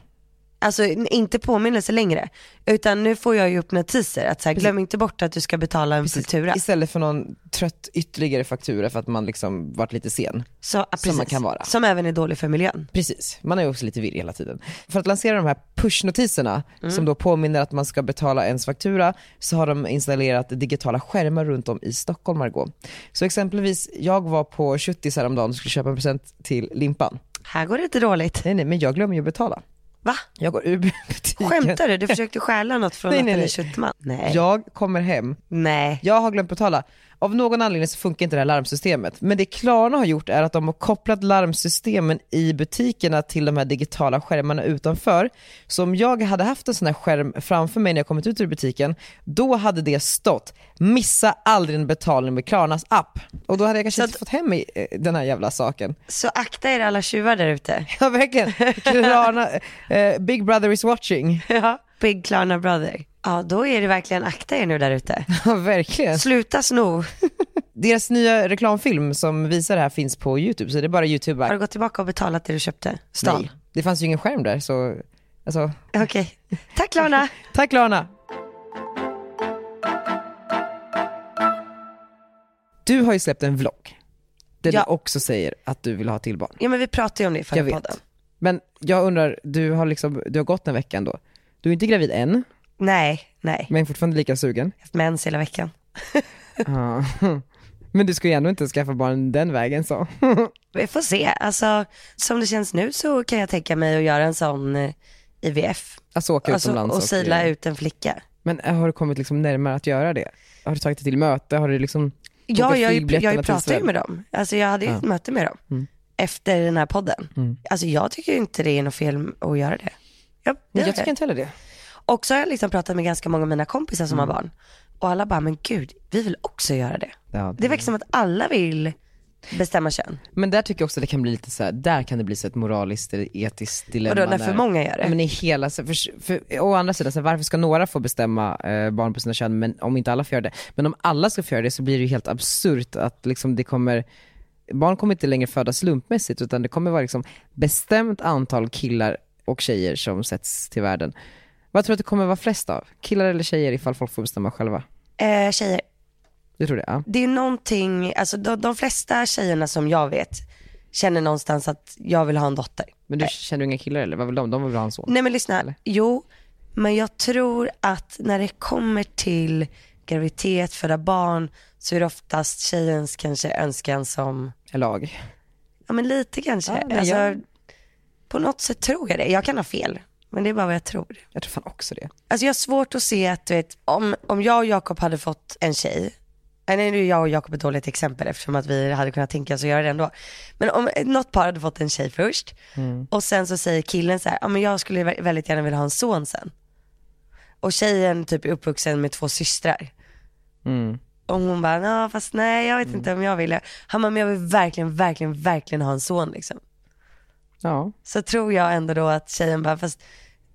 Alltså n- inte påminnelse längre, utan nu får jag ju upp notiser att så här, glöm inte bort att du ska betala en faktura. Istället för någon trött ytterligare faktura för att man liksom varit lite sen. Så, ja, Som man precis. kan vara. Som även är dålig för miljön. Precis, man är ju också lite virrig hela tiden. För att lansera de här pushnotiserna som då påminner att man ska betala ens faktura så har de installerat digitala skärmar runt om i Stockholm Margot. Så exempelvis, jag var på Schuttis häromdagen och skulle köpa en present till Limpan. Här går det inte dåligt. Nej nej men jag glömmer ju att betala. Va? Jag går ur butiken. Skämtar du? Du försökte stjäla något från Nej, nej, Nathalie nej. Schuttman? Nej. Jag kommer hem, Nej. jag har glömt betala. Av någon anledning så funkar inte det här larmsystemet. Men det Klarna har gjort är att de har kopplat larmsystemen i butikerna till de här digitala skärmarna utanför. Så om jag hade haft en sån här skärm framför mig när jag kommit ut ur butiken, då hade det stått “Missa aldrig en betalning med Klarnas app”. Och då hade jag kanske Så inte fått hem i- eh, den här jävla saken. [LAUGHS] Så akta er alla tjuvar där ute. Ja verkligen. Klarna, eh, Big Brother is watching. [LAUGHS] Ja. Big Klarna Brother. Ja, då är det verkligen akta er nu där ute. Ja verkligen. Sluta sno. Deras nya reklamfilm som visar det här finns på YouTube, så det är bara Har du YouTuber. gått tillbaka och betalat det du köpte? Stal? Nej, det fanns ju ingen skärm där så, alltså, Okej. Tack Klarna. tack Lana. Du har ju släppt en vlogg, där Ja. du också säger att du vill ha till barn. Ja men vi pratade ju om det i Jag förra vet. podden. Men jag undrar, du har liksom, du har gått en vecka ändå. Du är inte gravid än, Nej, nej. men fortfarande lika sugen. haft mens hela veckan. Ja. [LAUGHS] Men du ska ju ändå inte skaffa barn den vägen så. Vi får se. Alltså, som det känns nu så kan jag tänka mig att göra en sån eh, IVF. Alltså åka Alltså, utomlands eh, och sila ut en flicka. Men har du kommit liksom närmare att göra det? Har du tagit dig till möte? Har du liksom Ja, bokat jag, jag, flygbiljetterna till pratade ju Israel? Mm. med dem. Alltså, jag hade ju ett möte med dem efter den här podden. Alltså, jag tycker ju inte det är något fel att göra det. Jag, Nej, gör jag tycker det. inte heller det. Och så har jag liksom pratat med ganska många av mina kompisar som har barn. Och alla bara, men gud, vi vill också göra det. Ja, Det verkar som att alla vill bestämma kön. Men där tycker jag också det kan bli lite så här, där kan det bli så ett moraliskt eller etiskt dilemma. Vadå, när för många gör det? Men i hela, så- för, för, å andra sidan, så här, varför ska några få bestämma eh, barn på sina kön men, om inte alla får göra det? Men om alla ska få göra det så blir det ju helt absurt att liksom, det kommer, barn kommer inte längre födas slumpmässigt utan det kommer vara liksom, bestämt antal killar och tjejer som sätts till världen. Vad tror du att det kommer vara flest av? Killar eller tjejer ifall folk får bestämma själva? Eh, tjejer, Du tror det? Ja. det är någonting, alltså de, de flesta tjejerna som jag vet känner någonstans att jag vill ha en dotter. Men du känner du inga killar eller? Vad vill de? De vill ha en son? Nej men lyssna, jo, men jag tror att när det kommer till graviditet, föda barn, så är det oftast tjejens kanske önskan som, En lag? ja men lite kanske. Ja, men alltså, jag- På något sätt tror jag det. Jag kan ha fel, men det är bara vad jag tror. Jag tror fan också det. Alltså jag har svårt att se att du vet, om, om jag och Jakob hade fått en tjej, eh, nej nu är jag och Jakob ett dåligt exempel eftersom att vi hade kunnat tänka oss att göra det ändå. Men om något par hade fått en tjej först Mm. och sen så säger killen så här, ja men jag skulle vä- väldigt gärna vilja ha en son sen. Och tjejen typ är uppvuxen med två systrar. Mm. Och hon bara, ja fast nej jag vet inte om jag vill det. Han bara, men jag vill verkligen, verkligen, verkligen ha en son liksom Ja. så tror jag ändå då att tjejen bara, fast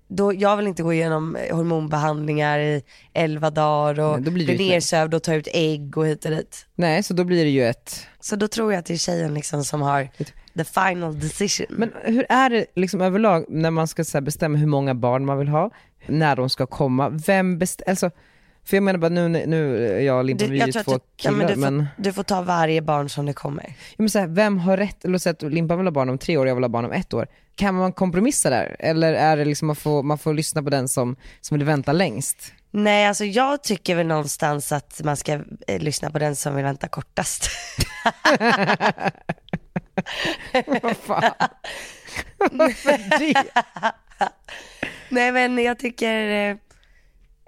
då, jag vill inte gå igenom eh, hormonbehandlingar i elva dagar och Nej, då blir det bli ju ett nej. nersövd och ta ut ägg och hit och dit. Nej, så då blir det ju ett... Så då tror jag att det är tjejen liksom som har the final decision. Men hur är det liksom överlag när man ska så här bestämma hur många barn man vill ha, när de ska komma, vem bestämmer? Alltså, för jag menar bara nu, nu jag och Limpan, vi är ju två ja, killar, men du, men, men... Får, du får ta varje barn som det kommer. så här, vem har rätt? Låt säga att Limpan vill ha barn om tre år, jag vill ha barn om ett år. Kan man kompromissa där? Eller är det liksom man får, man får lyssna på den som, som vill vänta längst? [LAUGHS] Nej alltså jag tycker väl någonstans att man ska eh, lyssna på den som vill vänta kortast. [LAUGHS] Vad fan? [LAUGHS] Varför det? Nej men jag tycker, eh,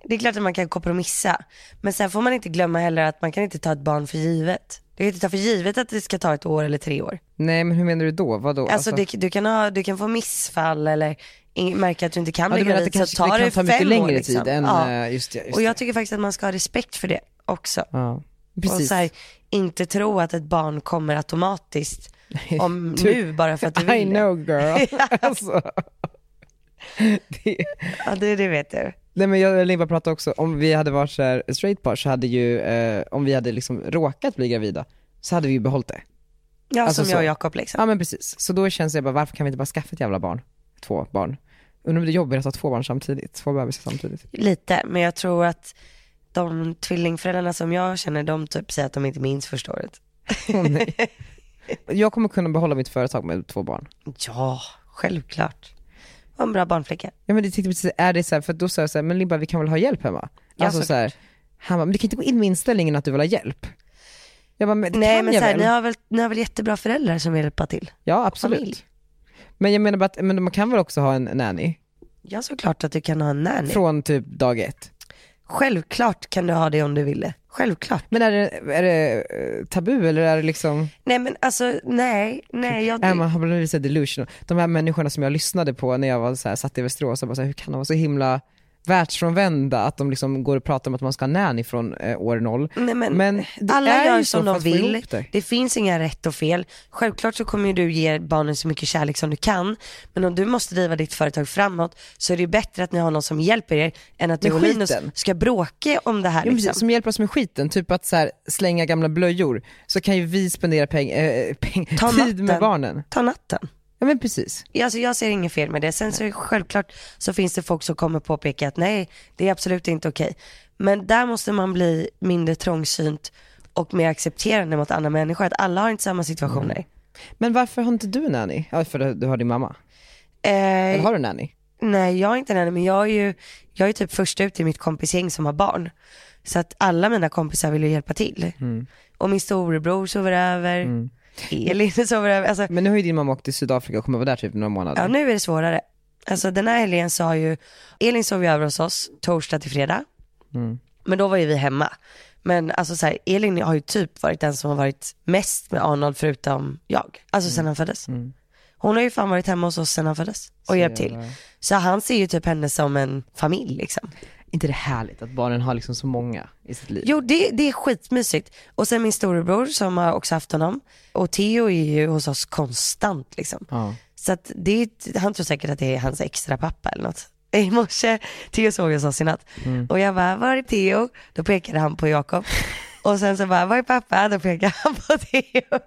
det är klart att man kan kompromissa. Men sen får man inte glömma heller att man kan inte ta ett barn för givet. Du kan inte ta för givet att det ska ta ett år eller tre år. Nej men hur menar du då? Vadå? Alltså, Du, du, kan ha, du kan få missfall eller in, märka att du inte kan ja, bli du menar att det gravid. så kanske tar det kan ta mycket fem längre år, tid liksom. än, ja. eh, just det. Just Och det. jag tycker faktiskt att man ska ha respekt för det också. Ja, Och precis. [LAUGHS] så här, inte tro att ett barn kommer automatiskt om nu bara för att du vill I det. know [LAUGHS] girl. [LAUGHS] alltså. det, Ja, det, det vet du. nej men jag och Limpa pratade också, om vi hade varit så här straight par så hade ju, eh, om vi hade liksom råkat bli gravida, så hade vi ju behållit det. Ja, Alltså som så. jag och Jakob liksom. Ja men precis. Så då känns det bara, varför kan vi inte bara skaffa ett jävla barn? Två barn. Undrar om det är jobbigt att ha två barn samtidigt, två bebisar samtidigt. Lite, men jag tror att de tvillingföräldrarna som jag känner, de typ säger att de inte minns första året. Åh, nej. Jag kommer kunna behålla mitt företag med två barn. Ja, självklart. Vad en bra barnflicka. Ja men det tänkte jag precis, är det så här, för då sa jag så här, men Limpa vi kan väl ha hjälp hemma? Ja, alltså så här, han bara, men du kan inte gå in med inställningen att du vill ha hjälp. Jag bara, men det Nej kan men jag så här, väl? ni, har väl, ni har väl jättebra föräldrar som vill hjälpa till? Ja absolut. familj. Men jag menar bara att, men man kan väl också ha en nanny? Ja såklart att du kan ha en nanny. Från typ dag ett. Självklart kan du ha det om du ville. Självklart. Men är det, är det eh, tabu eller är det liksom, Nej men alltså, nej, nej. Jag, är man har blivit så delusional? De här människorna som jag lyssnade på när jag var så här, satt i Västerås och bara så här, hur kan de vara så himla världsfrånvända att de liksom går och pratar om att man ska ha nanny från eh, år noll. nej men, Men det alla är gör ju som så för de att få ihop vill. det. Det finns inga rätt och fel. Självklart så kommer ju du ge barnen så mycket kärlek som du kan. Men om du måste driva ditt företag framåt så är det ju bättre att ni har någon som hjälper er än att du Med och Linus skiten. ska bråka om det här Ja, men liksom. precis, som hjälper oss med skiten, typ att så här, slänga gamla blöjor, så kan ju vi spendera peng, eh, peng, Ta tid natten. med barnen. Ta natten. Ja men precis. Ja, Alltså jag ser inget fel med det. Sen så är det självklart så finns det folk som kommer påpeka att nej, det är absolut inte okej. Men där måste man bli mindre trångsynt och mer accepterande mot andra människor. Att alla har inte samma Mm. situationer. Men varför har inte du nanny? Ja för du har din mamma. Eller Eh, har du nanny? nej, jag är inte den, men jag är ju jag är typ först ut i mitt kompisgäng som har barn. Så att alla mina kompisar vill ju hjälpa till. Och min storebror sover över, Elin [LAUGHS] sover över. Alltså, Men nu har ju din mamma åkt till Sydafrika och kommer vara där typ några månader. Ja, nu är det svårare. Alltså den här helgen sa ju, Elin sov ju över hos oss torsdag till fredag. Men då var ju vi hemma. Men alltså så här, Elin har ju typ varit den som har varit mest med Arnold förutom jag. Alltså sen han föddes. Hon har ju fan varit hemma hos oss sen han föddes och hjälpt till. jävla- Så han ser ju typ henne som en familj liksom. inte det härligt att barnen har liksom så många i sitt liv? Jo det, det är skitmysigt. Och sen min storebror som har också haft honom. Och Theo är ju hos oss konstant liksom. Ja. Så att det är, ett- han tror säkert att det är hans extra pappa eller något. [LAUGHS] I morse, Theo såg oss oss i natt. Mm. Och jag bara, var är Theo? Då pekade han på Jakob. [LAUGHS] Och sen så bara, var är pappa? Då pekade han på Theo.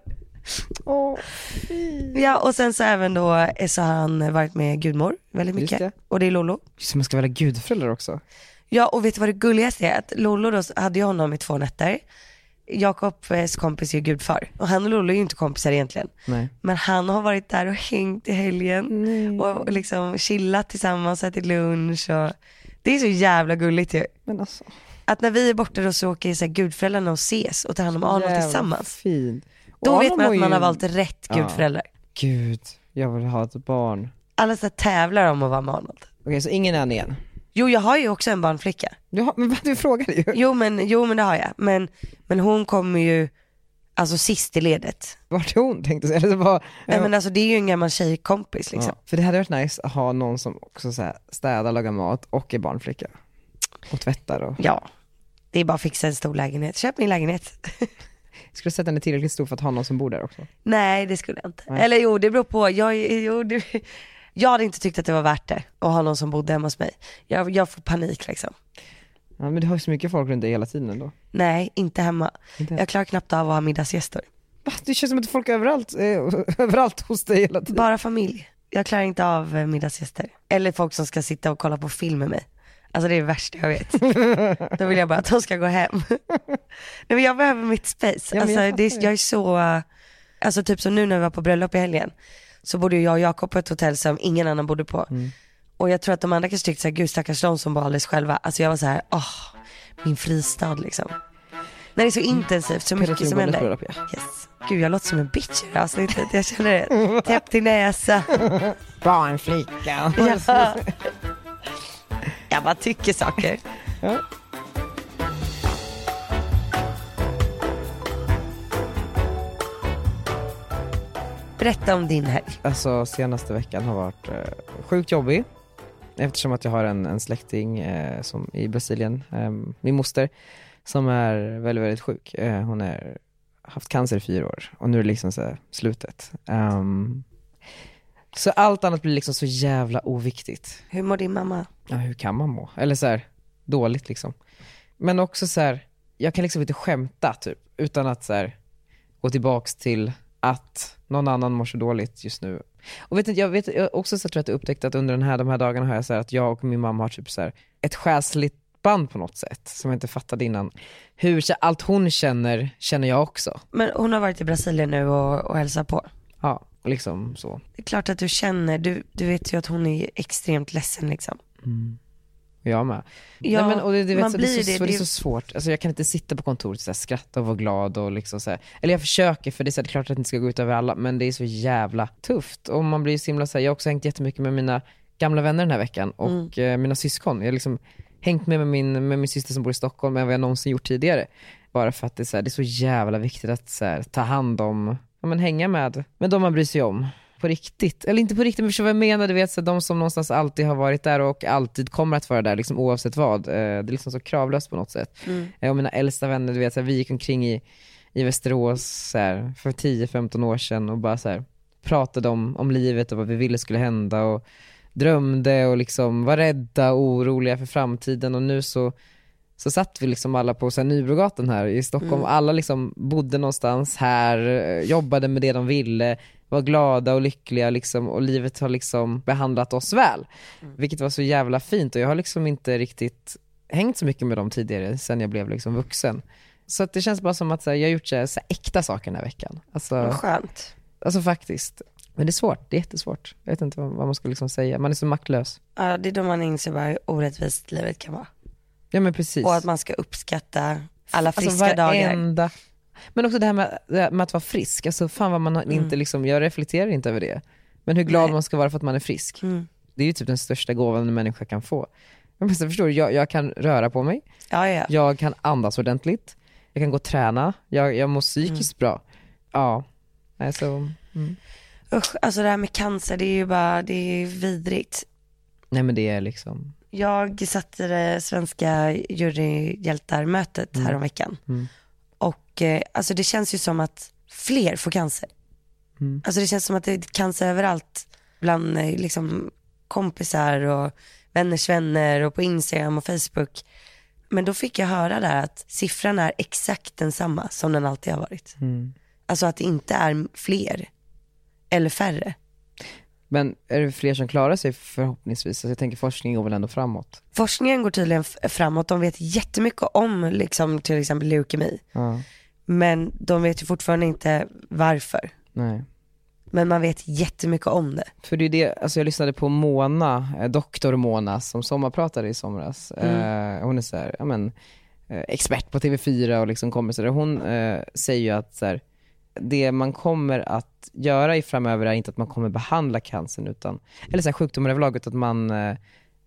Mm. Ja, och sen så även då eh, så har han varit med gudmor väldigt Just mycket. det. Och det är Lolo. Just det, man ska vara gudföräldrar också. Ja, och vet du vad det gulligaste är? Att Lollo då hade ju honom i två nätter. Jakobs kompis är ju gudfar och han och Lollo är ju inte kompisar egentligen. Nej. Men han har varit där och hängt i helgen Mm. och liksom chillat tillsammans, ätit lunch och det är så jävla gulligt ju. Men alltså, Att när vi är borta då så åker så här gudföräldrarna och ses och tar hand om Arnold jävla tillsammans. Fint. Och Då vet Arnold var man att ju- man har valt rätt Ja. gudföräldrar. Gud, jag vill ha ett barn. Alla så här tävlar om att vara med Arnold. Okej, så ingen nanny än? Jo, jag har ju också en barnflicka. Du har, men vad du frågade ju. [LAUGHS] Jo men, jo men det har jag. Men, men hon kommer ju, alltså sist i ledet. Vart är hon tänkte jag säga. Eller vad- Nej men alltså det är ju en gammal tjejkompis liksom. Ja, för det hade varit nice att ha någon som också så här städar, lagar mat och är barnflicka. Och tvättar och... Ja. Det är bara att fixa en stor lägenhet. Köp min lägenhet. [LAUGHS] Jag skulle sätta henne tillräckligt stor för att ha någon som bor där också. Nej det skulle jag inte. Eller jo det beror på. Jag, är- jo, det, [LAUGHS] jag hade inte tyckt att det var värt det att ha någon som bodde hemma hos mig. Jag, jag får panik liksom. Ja, men du har ju så mycket folk runt dig hela tiden ändå. Nej, inte hemma. Inte? Jag klarar knappt av att ha middagsgäster. Va? Det känns som att folk är överallt, eh, [LAUGHS] överallt hos dig hela tiden. Bara familj. Jag klarar inte av eh, middagsgäster. Eller folk som ska sitta och kolla på film med mig. Alltså det är det värsta jag vet. Då vill jag bara att de ska gå hem. Nej men jag behöver mitt space. Ja, men alltså, jag jag, det, fattar är- det. jag är så, eh, alltså typ som nu när vi var på bröllop i helgen. Så bodde ju jag och Jakob på ett hotell som ingen annan bodde på. Och jag tror att de andra kanske tyckte såhär, gud stackars de som var alldeles själva. Alltså jag var så här, åh, min fristad liksom. När det är så intensivt, så Peter mycket som Thorngården händer. bröllop, ja. Yes. Gud jag låter som en bitch i det här avsnittet, jag känner det. Täppt i näsa. Barnflicka. [LAUGHS] Ja. Jag bara tycker saker. Ja. Berätta om din helg. Alltså senaste veckan har varit eh, sjukt jobbig. Eftersom att jag har en, en släkting eh, som, ehm, i Brasilien, eh, min moster, som är väldigt, väldigt sjuk. Eh, hon är haft cancer i fyra år och nu är det liksom så här, slutet. Ehm, så allt annat blir liksom så jävla oviktigt. Hur mår din mamma? Ja, hur kan man må? Eller så här, dåligt liksom. Men också så här, jag kan liksom inte skämta typ, utan att så här, gå tillbaks till att någon annan mår så dåligt just nu. Och vet inte, jag vet jag har också så tror jag att jag upptäckte att under den här, de här dagarna har jag så här, att jag och min mamma har typ så här, ett själsligt band på något sätt som jag inte fattade innan. Hur så- allt hon känner, känner jag också. Men hon har varit i Brasilien nu och, och hälsat på. Ja, och liksom så. Det är klart att du känner, du, du vet ju att hon är extremt ledsen liksom. Och Jag med. Ja, Nej, men, och det, det, vet, man så, det, blir är så, så, det. det Det är är- så svårt. Alltså, jag kan inte sitta på kontoret och så här, skratta och vara glad. Och liksom, så här. Eller jag försöker för det är, så här, det är klart att det inte ska gå ut över alla men det är så jävla tufft. Och man blir så himla, så här, jag har också hängt jättemycket med mina gamla vänner den här veckan och eh, mina syskon. Jag har liksom hängt med, med, min, med min syster som bor i Stockholm än vad jag någonsin gjort tidigare. Bara för att det är så, här, det är så jävla viktigt att så här, ta hand om, ja, men hänga med, med de man bryr sig om. På riktigt. Eller inte på riktigt, men förstår vad jag menar. Du vet, så här, de som någonstans alltid har varit där och alltid kommer att vara där liksom, oavsett vad. Eh, Det är liksom så kravlöst på något sätt. Eh, Och mina äldsta vänner, du vet, så här, vi gick omkring i, i Västerås så här, för 10-15 år sedan och bara så här, pratade om, om livet och vad vi ville skulle hända. Och, drömde och liksom var rädda och oroliga för framtiden och nu så så satt vi liksom alla på så här Nybrogatan här i Stockholm och alla liksom bodde någonstans här, eh, jobbade med det de ville, var glada och lyckliga liksom, och livet har liksom behandlat oss väl. Vilket var så jävla fint och jag har liksom inte riktigt hängt så mycket med dem tidigare sen jag blev liksom vuxen. Så att det känns bara som att så här, jag har gjort så här, så här, äkta saker den här veckan. Alltså, Skönt. alltså faktiskt. Men det är svårt, det är jättesvårt. Jag vet inte vad, vad man ska liksom säga, man är så maktlös. Ja, det är då man inser bara hur orättvist livet kan vara. Ja men precis. Alltså, Och att man ska uppskatta alla friska dagar. varenda- Men också det här med, det här med att vara frisk, alltså fan vad man Mm. har- inte liksom, jag reflekterar inte över det. Men hur glad man ska vara för att man är frisk. Mm. Det är ju typ den största gåvan en människa kan få. Men sen förstår du, jag, jag kan röra på mig, Ja, ja. jag kan andas ordentligt, jag kan gå och träna, jag, jag mår Mm. psykiskt bra. Ja, alltså, mm. Usch, alltså det här med cancer, det är ju bara, det är vidrigt. nej men det är liksom, Jag satt i det svenska juryhjältar-mötet häromveckan. Och eh, alltså det känns ju som att fler får cancer. Alltså det känns som att det är cancer överallt bland eh, liksom, kompisar och vänners vänner och på Instagram och Facebook. Men då fick jag höra där att siffran är exakt densamma som den alltid har varit. Mm. Alltså att det inte är fler eller färre. men är det fler som klarar sig förhoppningsvis? Alltså jag tänker forskning går väl ändå framåt. Forskningen går tydligen f- framåt. De vet jättemycket om liksom, till exempel leukemi. Ja, Men de vet ju fortfarande inte varför. nej. Men man vet jättemycket om det. För det är det, alltså jag lyssnade på Mona, eh, doktor Mona som sommarpratade i somras. Eh, hon är så här, ja men, eh, expert på TV4 och liksom kommer så där. Hon eh, säger ju att så här, det man kommer att göra i framöver är inte att man kommer behandla cancern, utan, eller så här, sjukdomar överlag, utan att man, eh,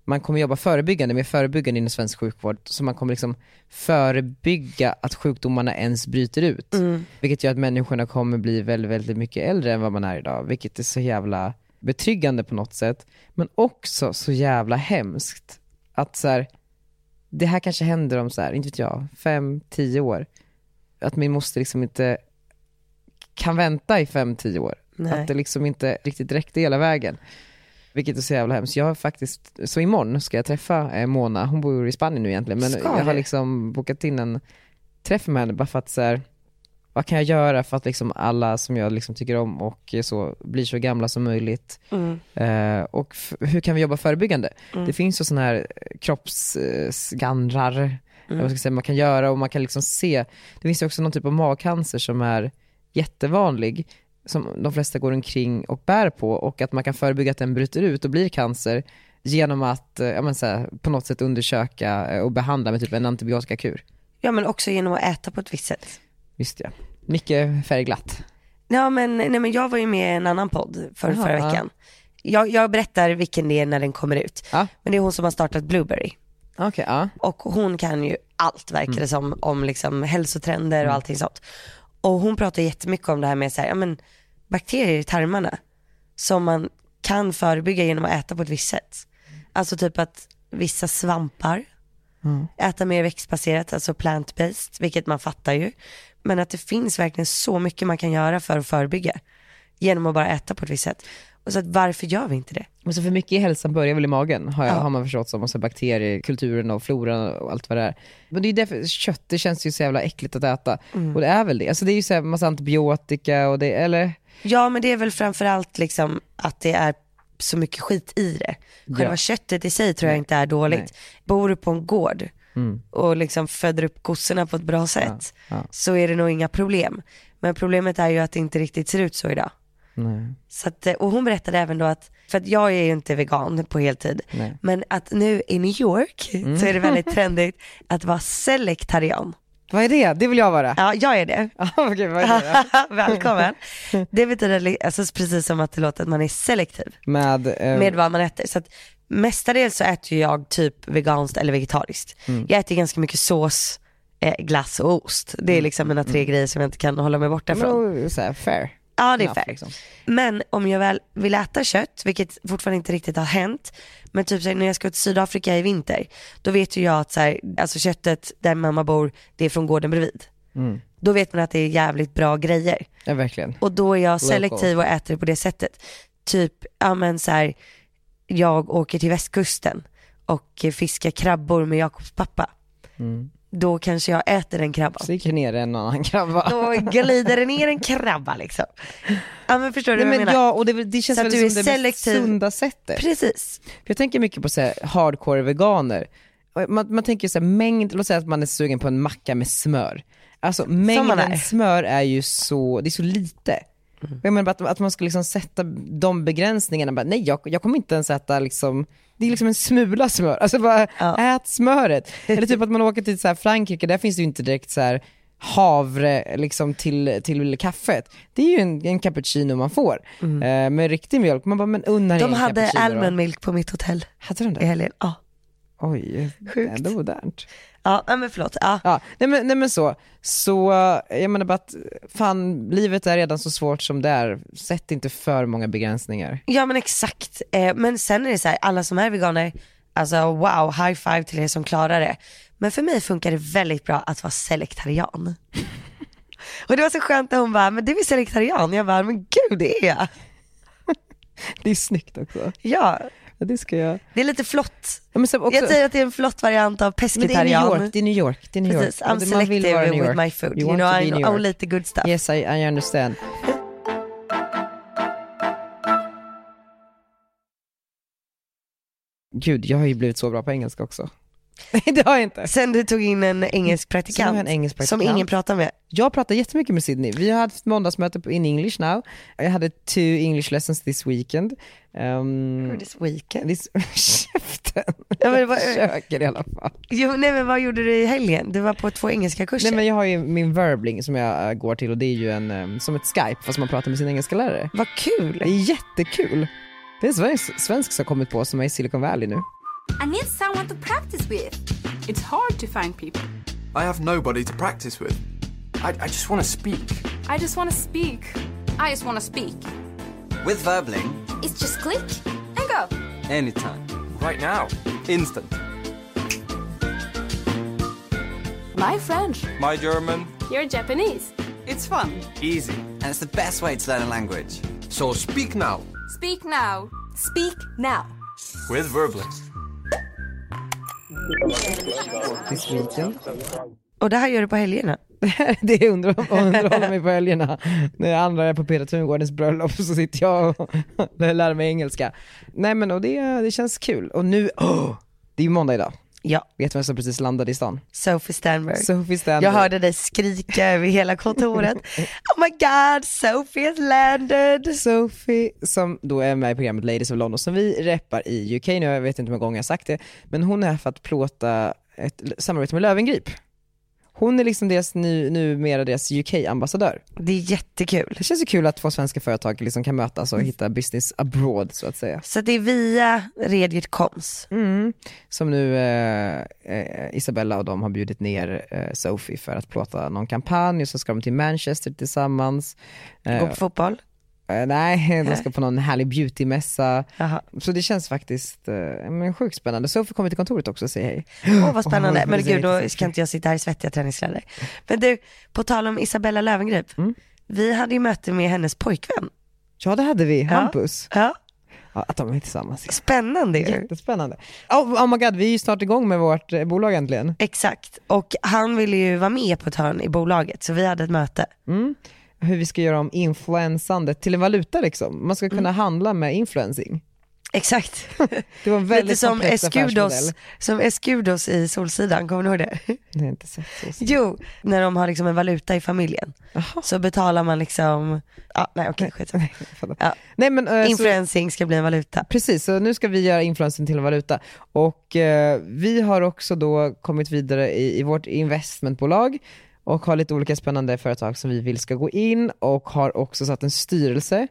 man kommer jobba förebyggande, mer förebyggande inom svensk sjukvård. Så man kommer liksom förebygga att sjukdomarna ens bryter ut. Mm. Vilket gör att människorna kommer bli väldigt, väldigt mycket äldre än vad man är idag. Vilket är så jävla betryggande på något sätt. Men också så jävla hemskt. Att så här, det här kanske händer om så här, inte vet jag, fem, tio år. Att min moster liksom inte kan vänta i fem, tio år. Nej. Att det liksom inte riktigt räckte hela vägen. Vilket är så jävla hemskt. Jag har faktiskt, så imorgon ska jag träffa eh, Mona, hon bor i Spanien nu egentligen, men Ska jag har du? liksom bokat in en träff med henne bara för att så här, vad kan jag göra för att liksom alla som jag liksom tycker om och så blir så gamla som möjligt? Eh, och f- hur kan vi jobba förebyggande? Det finns ju sådana här eh, kroppsskannrar, mm. man, säga, man kan göra och man kan liksom se. Det finns ju också någon typ av magcancer som är jättevanlig, som de flesta går omkring och bär på och att man kan förebygga att den bryter ut och blir cancer genom att eh, ja, men så här, på något sätt undersöka eh, och behandla med typ en antibiotikakur. Ja men också genom att äta på ett visst sätt. Visst ja. Mycket färgglatt. Ja men, nej, men jag var ju med i en annan podd för, Jaha, förra ja. veckan. Jag, jag berättar vilken det är när den kommer ut. Ja. Men det är hon som har startat Blueberry. Okej, ja. Och hon kan ju allt verkar det som, om liksom hälsotrender och allting sånt. Och hon pratar jättemycket om det här med så här, ja, men, bakterier i tarmarna som man kan förebygga genom att äta på ett visst sätt. Alltså typ att vissa svampar Äta mer växtbaserat, alltså plant-based, vilket man fattar ju. Men att det finns verkligen så mycket man kan göra för att förebygga genom att bara äta på ett visst sätt. Och så att varför gör vi inte det? Men så för mycket i hälsan börjar väl i magen, har, jag, har man förstått som. Och så bakterier, kulturen och floran och allt vad det är. Men det är ju därför kött, det känns ju så jävla äckligt att äta. Mm. Och det är väl det. Alltså det är ju så här massa antibiotika och det, eller? Ja men det är väl framförallt liksom att det är så mycket skit i det. Själva Ja. köttet i sig tror jag inte är dåligt. Nej. Bor du på en gård och liksom föder upp kossorna på ett bra sätt Mm. ja. så är det nog inga problem. Men problemet är ju att det inte riktigt ser ut så idag. Nej. Så att, eh, och hon berättade även då att, för att jag är ju inte vegan på heltid, Nej. men att nu i New York [LAUGHS] så Mm. är det väldigt trendigt att vara selektarian. Vad är det? Det vill jag vara. Ja, jag är det. Ja. [LAUGHS] Okej, vad är det då? [LAUGHS] Välkommen. Det betyder li- alltså, precis som att det låter att man är selektiv [LAUGHS] Med, eh, med vad man äter. Så att mestadels så äter ju jag typ veganskt eller vegetariskt. Mm. Jag äter ganska mycket sås, eh, glass och ost. Det är liksom mina tre grejer som jag inte kan hålla mig borta Mm. men från. då, så här, fair. Ja det är enough, fair. liksom. Men om jag väl vill äta kött, vilket fortfarande inte riktigt har hänt, men typ såhär, när jag ska till Sydafrika i vinter, då vet ju jag att såhär, alltså köttet där mamma bor, det är från gården bredvid. Mm. Då vet man att det är jävligt bra grejer. Ja, verkligen. Och då är jag Local. selektiv och äter det på det sättet. Typ, ja men såhär, jag åker till västkusten och eh, fiskar krabbor med Jakobs pappa. Mm. Då kanske jag äter [LAUGHS] den krabban. Sticker ner en annan krabba. Då glider det ner en krabba liksom. Ja men förstår du Nej, vad jag men menar? ja, och det, det känns Så att väl du är som det selektiv. mest sunda sättet. Precis. För Jag tänker mycket på så här, hardcore veganer. Man, man tänker så här, mängd, låt säga att man är sugen på en macka med smör. Alltså mängden är. Mm. smör är ju så, det är så lite. Jag menar bara att, att man ska liksom sätta de begränsningarna, bara, nej jag, jag kommer inte ens äta liksom, det är liksom en smula smör. Alltså bara ät [LAUGHS] smöret. Eller typ att man åker till så här Frankrike, där finns det ju inte direkt så här havre liksom till, till kaffet. Det är ju en, en cappuccino man får eh, med riktig mjölk. Man bara, men unna dig Mm. De en hade cappuccino då. almond milk på mitt hotell Hade de det? i helgen. Ja, Oj, Sjukt. ändå modernt. ja nej, men förlåt. Ja. Ja, nej men, nej men så, så eh, jag menar bara att fan livet är redan så svårt som det är, sätt inte för många begränsningar. ja men exakt. Eh, Men sen är det så här, alla som är veganer, alltså wow, high five till er som klarar det. Men för mig funkar det väldigt bra att vara selektarian. [LAUGHS] Och det var så skönt när hon bara, men du är selektarian. Jag bara, men gud det är jag. Det är snyggt också. Ja, Ja, det ska jag. det är lite flott. Ja, men sen också, Jag säger att det är en flott variant av men det är New pescetarian. York, det är New York, det är New York. Precis, I'm Och det- man vill vara i selective New with York. my food. You, want know, to be I in New know York. only the good stuff. Yes I, I understand. Gud, jag har ju blivit så bra på engelska också. [LAUGHS] Nej det har jag inte. Sen du tog in en engelsk Sen har praktikant, jag en engelsk som praktikant. ingen pratar med. Jag pratar jättemycket med Sydney. Vi har haft måndagsmöte på- in English now. Jag hade two English lessons this weekend. Um, This weekend. this... [LAUGHS] Käften! Ja, men [LAUGHS] det var- Försöker i alla fall. Jo, nej men vad gjorde du i helgen? Du var på två engelska kurser. Nej men jag har ju min verbling som jag eh, går till och det är ju en, eh, som ett skype fast man pratar med sin engelska lärare. Vad Det kul! är jättekul. Det är en svensk, svensk som har kommit på som är i Silicon Valley nu. I need someone to practice with. It's hard to find people. I have nobody to practice with. I, I just want to speak. I just want to speak. I just want to speak. With Verbling, It's just click and go. anytime. Right now. Instant. My French. My German. You're Japanese. It's fun. Easy. And it's the best way to learn a language. So speak now. Speak now. Speak now. With Verbling. This weekend. Och det här gör du på helgerna? [LAUGHS] det är under, och underhåller mig på helgerna. När andra är på Peter Tungårdens bröllop så sitter jag och [LAUGHS] lär mig engelska. Nej men och det, det känns kul. Och nu, åh! det är ju måndag idag. Ja, Vet du vem som precis landade i stan? Sophie Sternberg. Sophie Stanley. Jag hörde dig skrika över hela [LAUGHS] kontoret. Oh my god, Sophie has landed! Sophie som då är med i programmet Ladies of London som vi reppar i UK nu, jag vet inte hur många gånger jag har sagt det, men hon är här för att plåta ett l- samarbete med Lövengrip. Hon är liksom deras, nu, numera deras UK-ambassadör. Det är jättekul. Det känns ju kul att två svenska företag liksom kan mötas Mm. och hitta business abroad så att säga. Så det är via Redgert Koms. Mm. Som nu eh, eh, Isabella och de har bjudit ner eh, Sophie Mm. för att plåta någon kampanj och så ska de till Manchester tillsammans. Gå på fotboll. Eh, nej, [LAUGHS] de ska på någon härlig beautymässa. Jaha. Så det känns faktiskt eh, men sjukt spännande. Sophie kommer till kontoret också och säger hej. Åh vad spännande, [LAUGHS] Och hon men säger gud då exakt- ska inte jag sitta här i svettiga träningskläder. Men du, på tal om Isabella Löwengrip, vi hade ju möte med hennes pojkvän. Ja det hade vi, Hampus. Ja, Ja, att de är tillsammans. spännande ju. Jättespännande. Oh, oh my god, vi är ju snart igång med vårt eh, bolag äntligen. Exakt, och han ville ju vara med på ett hörn i bolaget så vi hade ett möte. Hur vi ska göra om influensandet till en valuta liksom. Man ska kunna Mm. handla med influencing. Exakt. [LAUGHS] Det var en Lite väldigt som komplex affärsmodell. Escudos, som Escudos i Solsidan, kommer ni ihåg [LAUGHS] det? Nej, inte sett så. Jo, när de har liksom en valuta i familjen. Så betalar man liksom, ja, nej okej skitsamma. Fattar. [LAUGHS] Ja. Nej, men, eh, så- Influencing ska bli en valuta. Precis, så nu ska vi göra influensen till en valuta. Och eh, vi har också då kommit vidare i, i vårt investmentbolag och har lite olika spännande företag som vi vill ska gå in och har också satt en styrelse,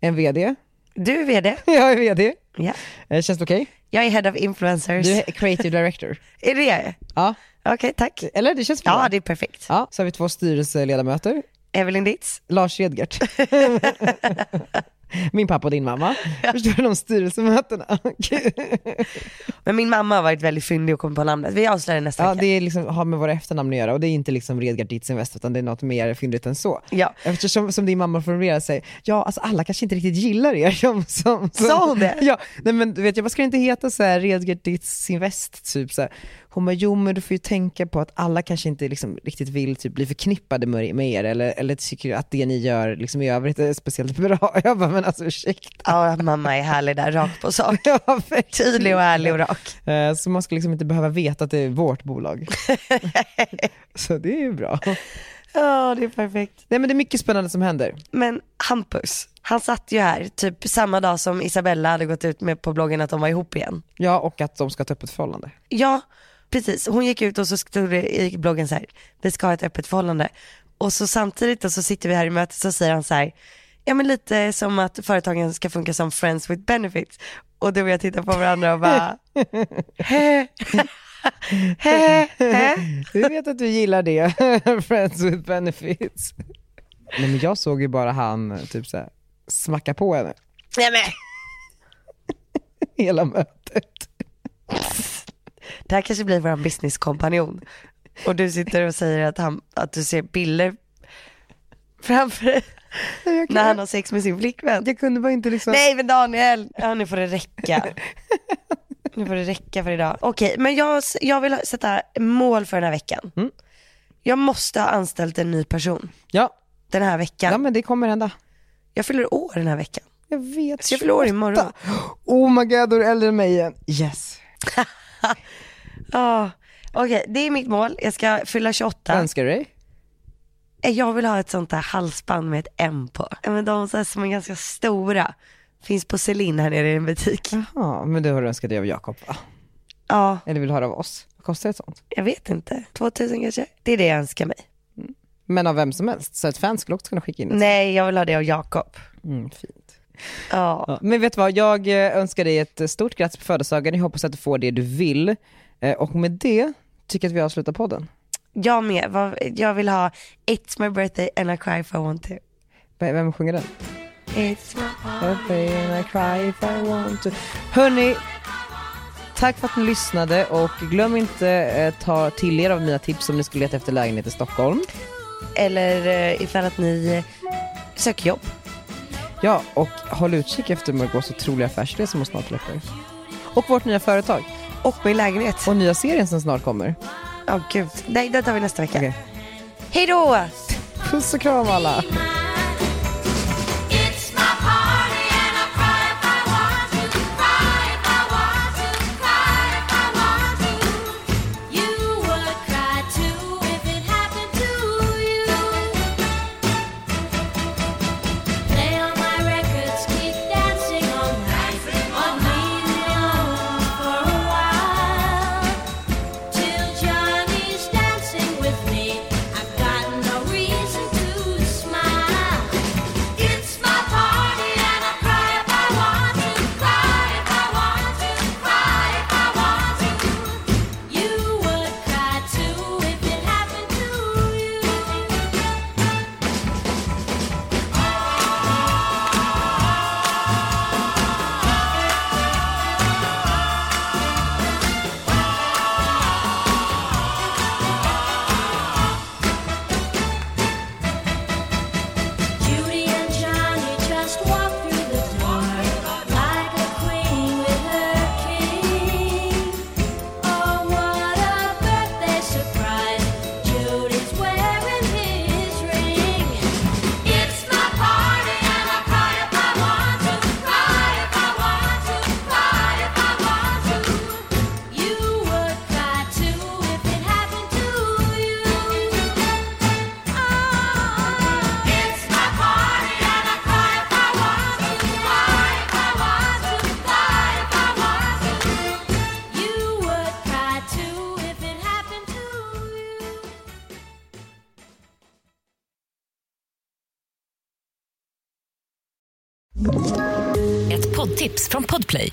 en VD. Du är vd, [LAUGHS] Jag är VD. ja. Eh, känns det okej? jag är head of influencers. Du är creative director. Är det jag är? [LAUGHS] Ja, Okej, tack. eller det känns bra. Ja, det är perfekt. ja, så har vi två styrelseledamöter, Evelyn Ditz. Lars [LAUGHS] Edgert. Min pappa och din mamma. Förstår du de [LAUGHS] styrelsemötena? Men min mamma har varit väldigt fyndig och kommit på namnet. Vi avslöjar det nästa Ja, vecka. det är liksom, har med våra efternamn att göra och det är inte liksom Redgard Ditz Invest utan det är något mer fyndigt än så. Ja. Eftersom som din mamma formulerar sig, ja alltså alla kanske inte riktigt gillar er som... som, som Sa hon det? Ja, nej men du vet jag, vad ska det inte heta så här Redgard Ditz Invest typ så här. Hon bara, jo men du får ju tänka på att alla kanske inte liksom riktigt vill typ bli förknippade med med er eller, eller tycker att det ni gör liksom i övrigt är speciellt bra. [LAUGHS] Jag bara, men alltså ursäkta. Ja, mamma är härlig där, rakt [LAUGHS] på sak. Ja, [LAUGHS] verkligen. Tydlig och ärlig och rak. Eh, Så man ska liksom inte behöva veta att det är vårt [LAUGHS] bolag. så det är ju bra. Ja, det är perfekt. Nej men det är mycket spännande som händer. Men Hampus, han satt ju här typ samma dag som Isabella hade gått ut med på bloggen att de var ihop igen. Ja, och att de ska ta upp ett förhållande. Ja, precis. Hon gick ut och så stod det i bloggen så här, vi ska ha ett öppet förhållande. Och så samtidigt då så sitter vi här i mötet så säger han så här, ja men lite som att företagen ska funka som friends with benefits. Och du och jag tittar på varandra [LAUGHS] och bara, hä? hä? Hä? Vi vet att du gillar det, [LAUGHS] Friends with benefits. Nej men jag såg ju bara han eh, typ såhär smacka på henne Nej men, hela mötet. det här kanske blir vår businesskompanjon. Och du sitter och säger att, han, att du ser bilder framför dig Jag när han kunde, har sex med sin flickvän. jag kunde bara inte liksom... Nej men Daniel, ja, nu får det [LAUGHS] räcka. Nu får det räcka för idag. Okej, men jag, jag vill sätta mål för den här veckan. Mm. Jag måste ha anställt en ny person Ja. den här veckan. ja, men det kommer hända. Jag fyller år den här veckan. Jag vet. Så jag fyller år 28. imorgon. Oh my god, då är du äldre än mig igen. Yes. Ah, Okej, det är mitt mål. Jag ska fylla 28. Önskar du dig? Eh, Jag vill ha ett sånt där halsband med ett M på. Ja, Men de så här som är ganska stora. Finns på Celine här nere i en butik. Ja, Ja, men det har du önskat dig av Jakob va? Eller vill du höra av oss? Vad kostar ett sånt? jag vet inte. 2000 kanske? Det är det jag önskar mig. Men av vem som helst, så ett fan skulle också kunna skicka in ett Nej, jag vill ha det av Jakob. Alltså. Mm, fint. Ja. Ja. Men vet du vad, jag eh, önskar dig ett stort grattis på födelsedagen. Jag hoppas att du får det du vill. Eh, Och med det tycker jag att vi avslutar podden. Jag med. Vad- Jag vill ha It's my birthday and I cry if I want to. V- Vem sjunger den? It's my Birthday and I cry if I want to. Hörni, tack för att ni lyssnade och glöm inte eh, ta till er av mina tips om ni skulle leta efter lägenhet i Stockholm. Eller eh, ifall att ni eh, söker jobb. Ja, och håll utkik efter Margots otroliga affärsresa som hon snart släpper. Och vårt nya företag. Och min lägenhet. Och nya serien som snart kommer. Ja, gud. Nej, det tar vi nästa vecka. Okej. Hej då! Puss och kram alla! It's my party and I cry if I want to, cry if I want to, cry if I want to. You would cry too if it happened to you. Play all my records, keep dancing all night, or leave me alone for a while. Till Johnny's dancing with me, I've got no reason to smile. Oh, Ett poddtips från Podplay.